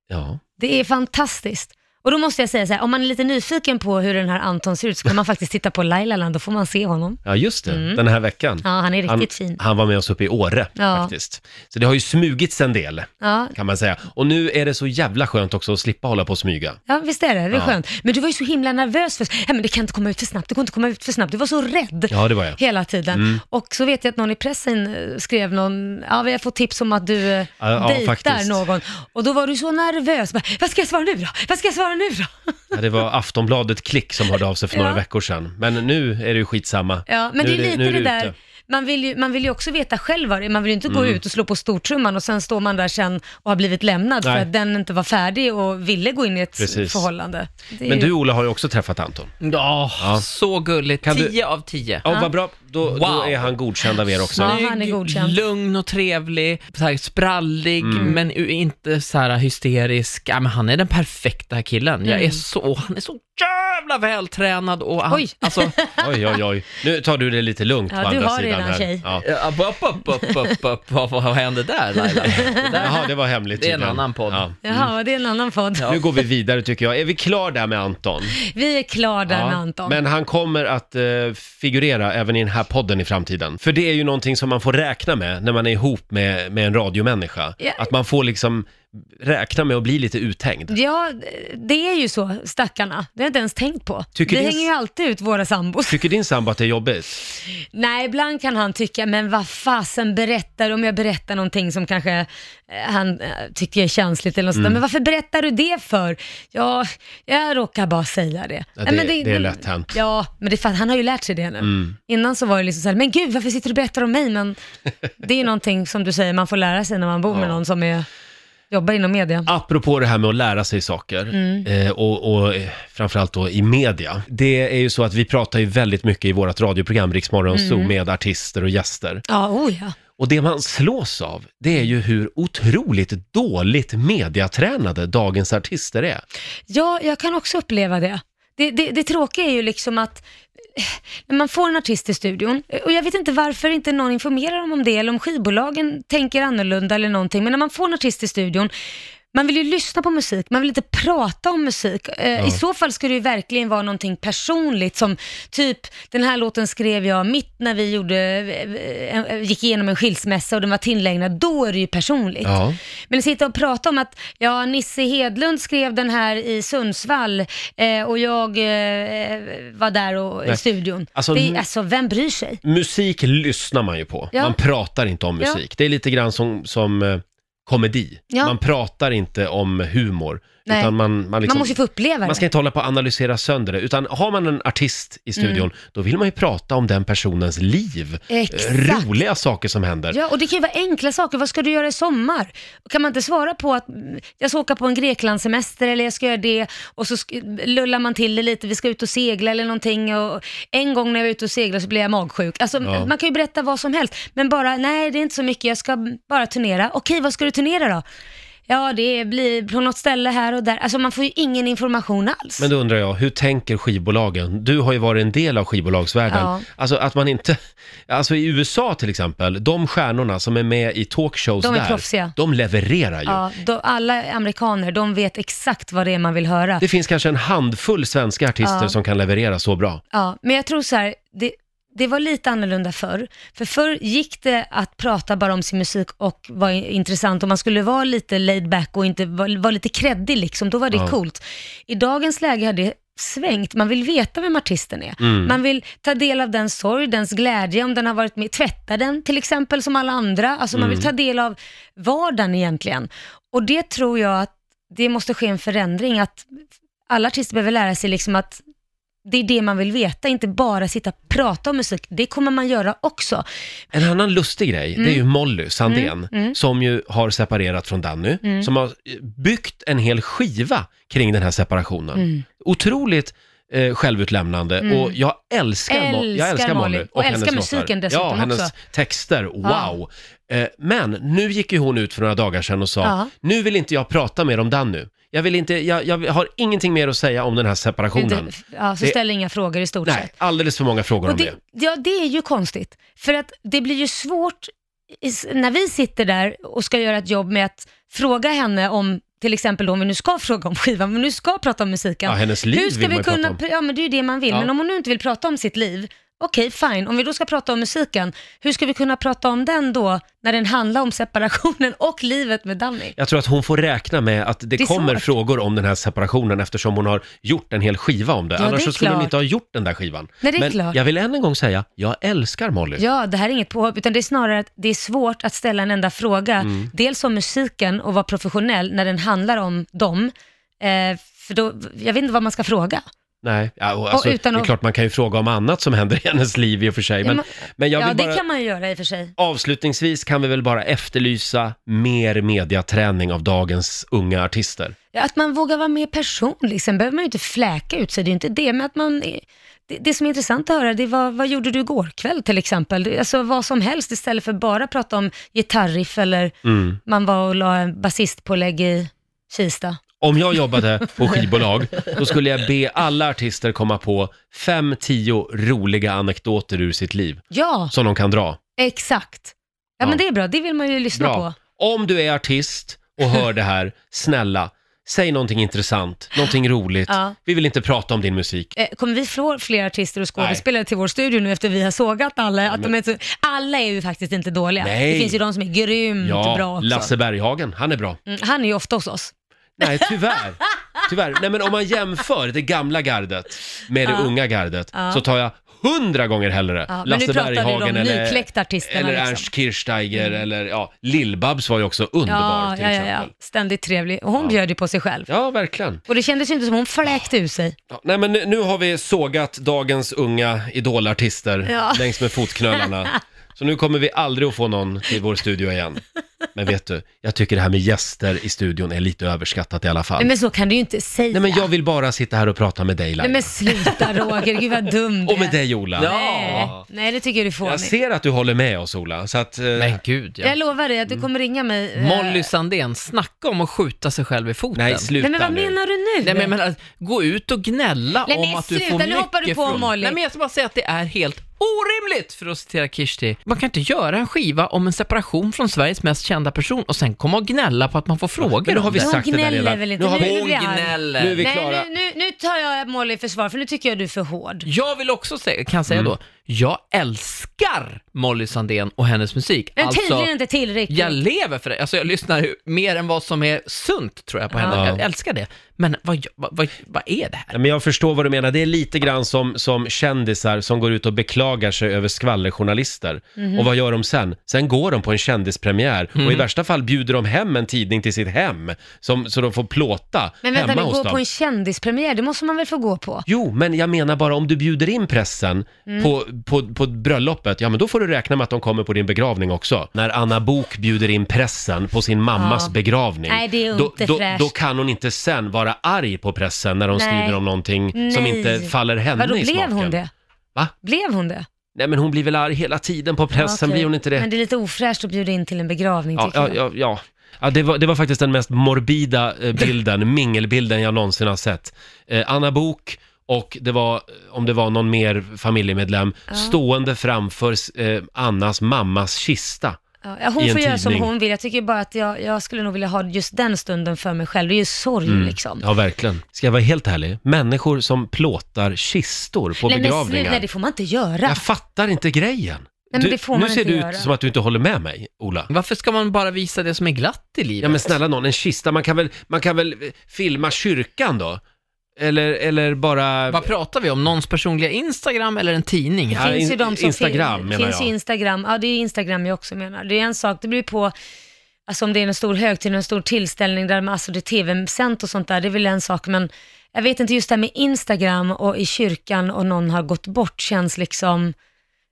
[SPEAKER 1] Ja.
[SPEAKER 2] Det är fantastiskt. Och då måste jag säga så här, om man är lite nyfiken på hur den här Anton ser ut så kan man faktiskt titta på Lailaland, då får man se honom.
[SPEAKER 1] ja, just det. Den här veckan.
[SPEAKER 2] Mm. Ja, han är
[SPEAKER 1] Han,
[SPEAKER 2] riktigt fin.
[SPEAKER 1] han var med oss uppe i Åre
[SPEAKER 2] Ja.
[SPEAKER 1] faktiskt. Så det har ju smugits en del
[SPEAKER 2] Ja,
[SPEAKER 1] kan man säga. Och nu är det så jävla skönt också att slippa hålla på och smyga.
[SPEAKER 2] Ja, visst är det. Det är
[SPEAKER 1] Ja.
[SPEAKER 2] skönt. Men du var ju så himla nervös. För, ja, men det kan inte komma ut för snabbt, det kan inte komma ut för snabbt. Du var så rädd
[SPEAKER 1] Ja, det var
[SPEAKER 2] <laughs>
[SPEAKER 1] jag.
[SPEAKER 2] hela tiden.
[SPEAKER 1] Mm.
[SPEAKER 2] Och så vet jag att någon i pressen eh, skrev någon, ja vi har fått tips om att du eh,
[SPEAKER 1] Ja, ja,
[SPEAKER 2] dejtar
[SPEAKER 1] faktiskt.
[SPEAKER 2] någon. Och då var du så nervös. Bara, Vad ska jag svara nu då? Vad ska jag svara nu då?
[SPEAKER 1] Ja, det var Aftonbladet Klick som hörde av sig för
[SPEAKER 2] Ja.
[SPEAKER 1] några veckor sedan. Men nu är det ju skitsamma.
[SPEAKER 2] Ja, <laughs> men
[SPEAKER 1] nu
[SPEAKER 2] det är lite
[SPEAKER 1] nu
[SPEAKER 2] det,
[SPEAKER 1] ute. Mm.
[SPEAKER 2] där, man vill, ju, man vill ju också veta själv vad det är. Man vill ju inte gå ut och slå på stortrumman och sen står man där sen och har blivit lämnad
[SPEAKER 1] Nej.
[SPEAKER 2] för att den inte var färdig och ville gå in i ett
[SPEAKER 1] Precis.
[SPEAKER 2] förhållande. Det är
[SPEAKER 1] Men
[SPEAKER 2] ju-
[SPEAKER 1] du Ola har ju också träffat Anton.
[SPEAKER 3] Ja,
[SPEAKER 1] Ja.
[SPEAKER 3] så gulligt.
[SPEAKER 1] Kan du-
[SPEAKER 3] 10 av 10.
[SPEAKER 1] Ja, vad bra. Då, då
[SPEAKER 3] Wow.
[SPEAKER 1] är han godkänd av er också.
[SPEAKER 2] Ja, han är
[SPEAKER 3] Snygg,
[SPEAKER 2] godkänd.
[SPEAKER 3] lugn och trevlig, så här sprallig,
[SPEAKER 1] Mm.
[SPEAKER 3] men u- inte så här hysterisk. Ja, men han är den perfekta killen. Jag är så, han är så jävla vältränad och han,
[SPEAKER 2] Oj.
[SPEAKER 3] alltså,
[SPEAKER 1] Oj, oj, oj. Nu tar du det lite lugnt
[SPEAKER 2] Ja,
[SPEAKER 1] på
[SPEAKER 2] du
[SPEAKER 1] andra
[SPEAKER 2] har
[SPEAKER 1] sidan
[SPEAKER 2] redan
[SPEAKER 1] här.
[SPEAKER 2] tjej.
[SPEAKER 1] Ja.
[SPEAKER 3] <laughs> ja, upp, upp, upp, upp, upp. Vad, vad hände där Laila? <laughs> Det där-
[SPEAKER 1] Jaha, det var hemligt
[SPEAKER 3] Det är en
[SPEAKER 1] tydligen.
[SPEAKER 3] annan podd.
[SPEAKER 1] Ja.
[SPEAKER 2] Jaha, det är en annan podd.
[SPEAKER 1] Nu går vi vidare tycker jag. Är vi klar där med Anton?
[SPEAKER 2] Vi är klara där
[SPEAKER 1] Ja,
[SPEAKER 2] med Anton.
[SPEAKER 1] Men han kommer att eh, figurera även i den här podden i framtiden. För det är ju någonting som man får räkna med när man är ihop med, med en radiomänniska.
[SPEAKER 2] Ja.
[SPEAKER 1] Att man får liksom räkna med att bli lite uthängd.
[SPEAKER 2] Ja, det är ju så, stackarna. Det har jag inte ens tänkt på.
[SPEAKER 1] Tycker
[SPEAKER 2] vi
[SPEAKER 1] det är-
[SPEAKER 2] hänger ju alltid ut våra sambos.
[SPEAKER 1] Tycker din sambo att det är jobbigt?
[SPEAKER 2] Nej, ibland kan han tycka, men vad fasen berättar du om jag berättar någonting som kanske eh, han eh, tycker är känsligt eller något
[SPEAKER 1] Mm.
[SPEAKER 2] sånt där. Men varför berättar du det för? Ja, jag råkar bara säga det.
[SPEAKER 1] Ja,
[SPEAKER 2] Nej,
[SPEAKER 1] det-
[SPEAKER 2] men
[SPEAKER 1] det är lätt hänt. Mm.
[SPEAKER 2] Ja, men det, är för att han har ju lärt sig det nu. Innan så var det liksom så här, men gud, varför sitter du och berättar om
[SPEAKER 1] <laughs>
[SPEAKER 2] mig? Men det är ju någonting som du säger, man får lära sig när man bor med någon som är, jobbar inom media.
[SPEAKER 1] Apropå det här med att lära sig saker,
[SPEAKER 2] Mm.
[SPEAKER 1] eh, och, och eh, framförallt då i media. Det är ju så att vi pratar ju väldigt mycket i vårt radioprogram Riksmorgon Zoo
[SPEAKER 2] Mm.
[SPEAKER 1] med artister och gäster.
[SPEAKER 2] Ja, oh ja.
[SPEAKER 1] Och det man slås av, det är ju hur otroligt dåligt mediatränade dagens artister är.
[SPEAKER 2] Ja, jag kan också uppleva det. Det, det, det tråkiga är ju liksom att eh, när man får en artist i studion, eh, och jag vet inte varför inte någon informerar dem om det, eller om skivbolagen tänker annorlunda eller någonting, men när man får en artist i studion, Man vill ju lyssna på musik, man vill inte prata om musik. Eh, I så fall ska det ju verkligen vara någonting personligt som typ, den här låten skrev jag mitt när vi gjorde, eh, eh, gick igenom en skilsmässa och den var tillägnad, då är det ju personligt.
[SPEAKER 1] Ja.
[SPEAKER 2] Men sitta och prata om att, ja, Nisse Hedlund skrev den här i Sundsvall eh, och jag eh, var där och, i
[SPEAKER 1] Nej.
[SPEAKER 2] studion.
[SPEAKER 1] Alltså,
[SPEAKER 2] det,
[SPEAKER 1] m-
[SPEAKER 2] är- alltså, vem bryr sig?
[SPEAKER 1] Musik lyssnar man ju på,
[SPEAKER 2] Ja.
[SPEAKER 1] man pratar inte om
[SPEAKER 2] Ja.
[SPEAKER 1] musik. Det är lite grann som, som eh, komedi.
[SPEAKER 2] Ja.
[SPEAKER 1] Man pratar inte om humor.
[SPEAKER 2] Nej.
[SPEAKER 1] Utan man, man, liksom,
[SPEAKER 2] man måste ju få uppleva
[SPEAKER 1] man ska
[SPEAKER 2] det.
[SPEAKER 1] inte hålla på och analysera sönder det, utan har man en artist i studion, då vill man ju prata om den personens liv.
[SPEAKER 2] Mm. Exakt.
[SPEAKER 1] Eh, Roliga saker som händer.
[SPEAKER 2] <laughs> Ja, och det kan ju vara enkla saker. Vad ska du göra i sommar? Kan man inte svara på att mm, jag ska åka på en Greklandssemester eller jag ska göra det och så sk- lullar man till det lite, vi ska ut och segla eller någonting och en gång när jag var ute och seglade så blev jag magsjuk. Alltså,
[SPEAKER 1] Ja.
[SPEAKER 2] man kan ju berätta vad som helst, men bara nej, det är inte så mycket, jag ska bara turnera. Okej, vad ska du turnera då? Ja, det blir på något ställe här och där. Alltså man får ju ingen information alls.
[SPEAKER 1] Men då undrar jag, hur tänker skivbolagen? Du har ju varit en del av skivbolagsvärlden.
[SPEAKER 2] Ja.
[SPEAKER 1] Alltså att man inte... Alltså i USA till exempel, de stjärnorna som är med i talkshows
[SPEAKER 2] De är
[SPEAKER 1] där,
[SPEAKER 2] proffsiga.
[SPEAKER 1] de levererar ju.
[SPEAKER 2] Ja, då, alla amerikaner, de vet exakt vad det är man vill höra.
[SPEAKER 1] Det finns kanske en handfull svenska artister
[SPEAKER 2] Ja.
[SPEAKER 1] som kan leverera så bra.
[SPEAKER 2] Ja, men jag tror så här, det, det var lite annorlunda förr. För förr gick det att prata bara om sin musik och vara i- intressant och man skulle vara lite laid back och inte vara vara lite kreddig liksom, då var det
[SPEAKER 1] Ja.
[SPEAKER 2] coolt. I dagens läge har det svängt, man vill veta vem artisten är.
[SPEAKER 1] Mm.
[SPEAKER 2] Man vill ta del av den sorg, dens glädje, om den har varit med, tvätta den till exempel som alla andra. Alltså man vill
[SPEAKER 1] Mm.
[SPEAKER 2] ta del av vardagen egentligen. Och det tror jag att det måste ske en förändring, att alla artister behöver lära sig liksom att det är det man vill veta, inte bara sitta och prata om musik. Det kommer man göra också.
[SPEAKER 1] En annan lustig grej, det
[SPEAKER 2] Mm.
[SPEAKER 1] är ju Molly Sandén, som ju har separerat från Danny,
[SPEAKER 2] Mm.
[SPEAKER 1] som har eh, byggt en hel skiva kring den här separationen.
[SPEAKER 2] Mm.
[SPEAKER 1] Otroligt eh, självutlämnande och jag älskar, Mo- jag
[SPEAKER 2] Älskar
[SPEAKER 1] älskar Molly
[SPEAKER 2] Molly.
[SPEAKER 1] och,
[SPEAKER 2] Och
[SPEAKER 1] hennes
[SPEAKER 2] älskar
[SPEAKER 1] låtar.
[SPEAKER 2] musiken dessutom
[SPEAKER 1] Ja, hennes
[SPEAKER 2] också.
[SPEAKER 1] texter, wow. Eh, men nu gick ju hon ut för några dagar sedan och sa,
[SPEAKER 2] Ja.
[SPEAKER 1] nu vill inte jag prata mer om Danny. Jag, vill inte, jag, jag har ingenting mer att säga om den här separationen.
[SPEAKER 2] Inte- Ja, så
[SPEAKER 1] Det-
[SPEAKER 2] ställ inga frågor i stort
[SPEAKER 1] Nej,
[SPEAKER 2] sett.
[SPEAKER 1] alldeles för många frågor
[SPEAKER 2] Och
[SPEAKER 1] om det.
[SPEAKER 2] det, ja, det är ju konstigt. För att det blir ju svårt i- när vi sitter där och ska göra ett jobb med att fråga henne om till exempel då, om vi nu ska <laughs> fråga om skivan, men nu ska prata om musiken.
[SPEAKER 1] Ja, hennes liv
[SPEAKER 2] Hur ska
[SPEAKER 1] vill man
[SPEAKER 2] vi
[SPEAKER 1] ju prata
[SPEAKER 2] kunna,
[SPEAKER 1] om.
[SPEAKER 2] pr- ja men det är ju det man vill,
[SPEAKER 1] Ja.
[SPEAKER 2] men om hon nu inte vill prata om sitt liv, okej fine, om vi då ska prata om musiken, hur ska vi kunna prata om den då när den handlar om separationen och livet med Danny?
[SPEAKER 1] Jag tror att hon får räkna med att det,
[SPEAKER 2] Det är
[SPEAKER 1] kommer
[SPEAKER 2] svårt.
[SPEAKER 1] frågor om den här separationen eftersom hon har gjort en hel skiva om det.
[SPEAKER 2] Ja,
[SPEAKER 1] Annars
[SPEAKER 2] det är
[SPEAKER 1] så skulle hon
[SPEAKER 2] klart.
[SPEAKER 1] inte ha gjort den där skivan.
[SPEAKER 2] Nej, det är
[SPEAKER 1] Men
[SPEAKER 2] klart.
[SPEAKER 1] jag vill än en gång säga, jag älskar Molly.
[SPEAKER 2] Ja, det här är inget påhopp, utan det är snarare att det är svårt att ställa en enda fråga.
[SPEAKER 1] Mm.
[SPEAKER 2] Dels om musiken och vara professionell när den handlar om dem. Eh, för då, jag vet inte vad man ska fråga.
[SPEAKER 1] Nej, ja, och alltså,
[SPEAKER 2] utan
[SPEAKER 1] det är
[SPEAKER 2] att-
[SPEAKER 1] klart man kan ju fråga om annat som händer i hennes liv i och för sig. Men,
[SPEAKER 2] Ja, men-
[SPEAKER 1] men jag
[SPEAKER 2] ja,
[SPEAKER 1] vill
[SPEAKER 2] det
[SPEAKER 1] bara,
[SPEAKER 2] kan man ju göra i och för sig.
[SPEAKER 1] avslutningsvis kan vi väl bara efterlysa mer mediaträning av dagens unga artister.
[SPEAKER 2] Ja, Att man vågar vara mer personlig, sen behöver man ju inte fläka ut sig, det är ju inte det, men att man... Det, det som är intressant att höra, det är vad, vad gjorde du igår kväll till exempel? Det- Alltså vad som helst istället för bara prata om gitarriff eller
[SPEAKER 1] Mm.
[SPEAKER 2] man var och la en basistpålägg i Kista.
[SPEAKER 1] Om jag jobbade på skivbolag, då skulle jag be alla artister komma på fem, tio roliga anekdoter ur sitt liv
[SPEAKER 2] Ja,
[SPEAKER 1] som de kan dra.
[SPEAKER 2] exakt. Ja,
[SPEAKER 1] Ja.
[SPEAKER 2] men det är bra, det vill man ju lyssna på.
[SPEAKER 1] Bra. Om du är artist och hör det
[SPEAKER 2] <laughs>
[SPEAKER 1] här, snälla, säg någonting intressant, någonting roligt.
[SPEAKER 2] Ja.
[SPEAKER 1] Vi vill inte prata om din musik.
[SPEAKER 2] Eh, Kommer vi få fler artister och skådespelare till vår studio nu efter vi har sågat alla? Att de är så, alla är ju faktiskt inte dåliga.
[SPEAKER 1] Nej.
[SPEAKER 2] Det finns ju de som är grymt bra
[SPEAKER 1] Ja,
[SPEAKER 2] också.
[SPEAKER 1] Lasse Berghagen, han är bra.
[SPEAKER 2] Mm, han är ju ofta hos oss.
[SPEAKER 1] Nej,
[SPEAKER 2] <laughs>
[SPEAKER 1] tyvärr. Tyvärr. Nej, men om man jämför det gamla gardet med det unga gardet så tar jag hundra gånger hellre
[SPEAKER 2] Ja, men
[SPEAKER 1] Lasse
[SPEAKER 2] nu pratar vi om
[SPEAKER 1] Berghagen eller,
[SPEAKER 2] nykläckta artisterna
[SPEAKER 1] eller
[SPEAKER 2] liksom.
[SPEAKER 1] Ernst Kirchsteiger eller ja, Lill-Babs var ju också underbar
[SPEAKER 2] Ja,
[SPEAKER 1] till
[SPEAKER 2] ja, ja,
[SPEAKER 1] exempel.
[SPEAKER 2] ja. Ständigt trevlig. Och hon bjöd ju på sig själv.
[SPEAKER 1] ja, verkligen.
[SPEAKER 2] Och det kändes ju inte som hon fläkte ur sig.
[SPEAKER 1] Ja, nej men nu, nu har vi sågat dagens unga idolartister
[SPEAKER 2] Ja.
[SPEAKER 1] längs med fotknölarna. Så nu kommer vi aldrig att få någon till vår studio igen. Men vet du, jag tycker det här med gäster i studion är lite överskattat i alla fall.
[SPEAKER 2] Nej, men så kan du ju inte säga.
[SPEAKER 1] Nej men jag vill bara sitta här och prata med dig
[SPEAKER 2] Nej,
[SPEAKER 1] Laila.
[SPEAKER 2] men sluta Roger, gud
[SPEAKER 1] <laughs>
[SPEAKER 2] vad dum du
[SPEAKER 1] Och med
[SPEAKER 2] är.
[SPEAKER 1] dig Ola.
[SPEAKER 3] Ja.
[SPEAKER 2] Nej. Nej, det tycker jag du får
[SPEAKER 1] Jag ser att du håller med oss Ola, så att... eh,
[SPEAKER 3] Men gud ja.
[SPEAKER 2] Jag lovar dig att
[SPEAKER 1] Mm.
[SPEAKER 2] du kommer ringa mig. eh,
[SPEAKER 3] Molly Sandén, snacka om att skjuta sig själv i foten.
[SPEAKER 1] Nej, sluta
[SPEAKER 2] Nej, men vad
[SPEAKER 1] nu.
[SPEAKER 2] menar du nu?
[SPEAKER 3] Nej men, men att gå ut och gnälla
[SPEAKER 2] Nej,
[SPEAKER 3] om
[SPEAKER 2] men
[SPEAKER 3] att du
[SPEAKER 2] sluta,
[SPEAKER 3] får
[SPEAKER 2] nu hoppar du
[SPEAKER 3] mycket
[SPEAKER 2] på
[SPEAKER 3] från...
[SPEAKER 2] Molly.
[SPEAKER 3] Nej men jag ska bara säga att det är helt orimligt, för att citera Kishti. Man kan inte göra en skiva om en separation från Sveriges mest kända person och sen komma och gnälla på att man får frågor
[SPEAKER 1] Men nu har
[SPEAKER 3] om
[SPEAKER 1] vi
[SPEAKER 3] det.
[SPEAKER 2] Hon
[SPEAKER 1] sagt det där
[SPEAKER 2] gnäller
[SPEAKER 1] redan.
[SPEAKER 2] väl inte.
[SPEAKER 1] Nu har
[SPEAKER 2] Nu
[SPEAKER 1] vi...
[SPEAKER 2] är
[SPEAKER 3] Hon
[SPEAKER 2] blir arg.
[SPEAKER 1] Nu är
[SPEAKER 3] gnäller.
[SPEAKER 1] vi klara.
[SPEAKER 2] Nej, nu, nu, nu tar jag Molly i försvar, för nu tycker jag du är för hård.
[SPEAKER 3] Jag vill också säga, kan säga
[SPEAKER 1] Mm.
[SPEAKER 3] då, jag älskar Molly Sandén och hennes musik.
[SPEAKER 2] Men
[SPEAKER 3] Alltså-
[SPEAKER 2] tydligen inte tillräckligt.
[SPEAKER 3] Jag lever för det. Alltså jag lyssnar ju mer än vad som är sunt tror jag på henne.
[SPEAKER 1] Ja.
[SPEAKER 3] Jag älskar det. Men vad, vad, vad, vad är det här?
[SPEAKER 1] Nej, Men jag förstår vad du menar. Det är lite grann som, som kändisar som går ut och beklagar sig över skvallerjournalister.
[SPEAKER 2] Mhm.
[SPEAKER 1] Och vad gör de sen? Sen går de på en kändispremiär och i värsta fall bjuder de hem en tidning till sitt hem som, så de får plåta
[SPEAKER 2] Men vänta
[SPEAKER 1] hemma
[SPEAKER 2] nu,
[SPEAKER 1] hos
[SPEAKER 2] gå
[SPEAKER 1] dem.
[SPEAKER 2] på en kändispremiär, det måste man väl få gå på?
[SPEAKER 1] Jo, men jag menar bara om du bjuder in pressen
[SPEAKER 2] Mm.
[SPEAKER 1] på, på, på bröllopet, ja men då får du räkna med att de kommer på din begravning också. När Anna Bok bjuder in pressen på sin mammas
[SPEAKER 2] Ja.
[SPEAKER 1] begravning,
[SPEAKER 2] Nej, det är
[SPEAKER 1] då,
[SPEAKER 2] inte
[SPEAKER 1] då,
[SPEAKER 2] fräscht.
[SPEAKER 1] då kan hon inte sen vara arg på pressen när de
[SPEAKER 2] Nej.
[SPEAKER 1] skriver om någonting som
[SPEAKER 2] Nej.
[SPEAKER 1] inte faller henne
[SPEAKER 2] Vadå,
[SPEAKER 1] i
[SPEAKER 2] blev
[SPEAKER 1] smaken.
[SPEAKER 2] hon det?
[SPEAKER 1] Va?
[SPEAKER 2] Blev hon det?
[SPEAKER 1] Nej, men hon blir väl arg hela tiden på pressen,
[SPEAKER 2] Ja, okej.
[SPEAKER 1] blir hon inte det?
[SPEAKER 2] Men det är lite ofräscht att bjuda in till en begravning
[SPEAKER 1] ja,
[SPEAKER 2] tycker
[SPEAKER 1] ja,
[SPEAKER 2] jag.
[SPEAKER 1] ja, ja. Ja, det, var, det var faktiskt den mest morbida eh, bilden, <laughs> mingelbilden jag någonsin har sett. Eh, Anna Bok och det var, om det var någon mer familjemedlem, stående framför eh, Annas mammas kista.
[SPEAKER 2] Ja, hon får
[SPEAKER 1] i en
[SPEAKER 2] göra som
[SPEAKER 1] tidning.
[SPEAKER 2] hon vill. Jag tycker bara att jag, jag skulle nog vilja ha just den stunden för mig själv. Det är ju sorg liksom.
[SPEAKER 1] Mm. Ja, verkligen. Ska jag vara helt ärlig? Människor som plåtar kistor på
[SPEAKER 2] nej, men
[SPEAKER 1] begravningar.
[SPEAKER 2] sluta, nej, det får man inte göra.
[SPEAKER 1] Jag fattar inte grejen.
[SPEAKER 2] men
[SPEAKER 1] du,
[SPEAKER 2] det får
[SPEAKER 1] nu
[SPEAKER 2] man
[SPEAKER 1] ser
[SPEAKER 2] inte
[SPEAKER 1] du
[SPEAKER 2] göra.
[SPEAKER 1] ut som att du inte håller med mig, Ola.
[SPEAKER 3] Varför ska man bara visa det som är glatt i livet?
[SPEAKER 1] Ja men snälla någon, en kista, man kan väl, man kan väl eh, filma kyrkan då? Eller, eller bara...
[SPEAKER 3] Vad pratar vi om? Någons personliga Instagram eller en tidning?
[SPEAKER 1] Ja,
[SPEAKER 2] Det finns ju
[SPEAKER 1] in-
[SPEAKER 2] de som
[SPEAKER 1] Instagram,
[SPEAKER 2] fin-
[SPEAKER 1] menar
[SPEAKER 2] finns
[SPEAKER 1] jag.
[SPEAKER 2] ju Instagram. Ja, det är Instagram jag också menar. Det är en sak, det blir på, alltså om det är en stor högtid, en stor tillställning där alltså det är tv-sänt och sånt där, det är väl en sak, men jag vet inte, just det här med Instagram och i kyrkan och någon har gått bort känns liksom,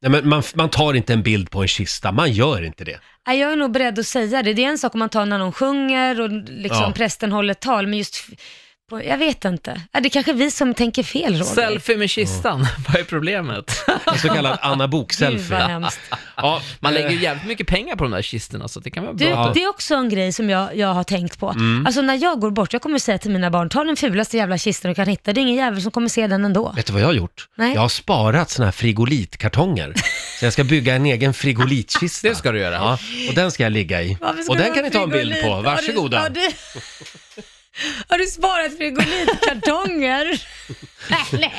[SPEAKER 1] Nej, men man, man tar inte en bild på en kista, man gör inte det.
[SPEAKER 2] Nej, jag är nog beredd att säga det. Det är en sak om man tar när någon sjunger och liksom
[SPEAKER 1] Ja.
[SPEAKER 2] prästen håller ett tal, men just, f- på, jag vet inte. Ja, Det är kanske vi som tänker fel, Roger.
[SPEAKER 3] Selfie med kistan, vad är problemet?
[SPEAKER 1] En så
[SPEAKER 2] <laughs>
[SPEAKER 1] kallad Anna
[SPEAKER 2] Gud vad
[SPEAKER 1] Bok-selfie.
[SPEAKER 2] hemskt.
[SPEAKER 1] Ja,
[SPEAKER 3] Man lägger
[SPEAKER 1] eh,
[SPEAKER 3] ju jävligt mycket pengar på de där kistorna så det kan vara
[SPEAKER 2] Du,
[SPEAKER 3] bra. att-
[SPEAKER 2] det är också en grej som jag, jag har tänkt på.
[SPEAKER 1] Mm.
[SPEAKER 2] Alltså när jag går bort, jag kommer säga till mina barn, ta den fulaste jävla kistan du kan hitta. Det är ingen jävel som kommer se den ändå.
[SPEAKER 1] Vet du vad jag har gjort?
[SPEAKER 2] Nej.
[SPEAKER 1] Jag har sparat såna här frigolitkartonger. Så jag ska bygga en egen frigolitkista.
[SPEAKER 3] Det ska du göra.
[SPEAKER 1] Ja, och den ska jag ligga i.
[SPEAKER 2] Varför ska
[SPEAKER 1] Och
[SPEAKER 2] du
[SPEAKER 1] den
[SPEAKER 2] ha
[SPEAKER 1] kan ni ta en bild
[SPEAKER 2] frigolit?
[SPEAKER 1] på, varsågoda.
[SPEAKER 2] Har du, har du, har du sparat frigolitkartonger? Nej,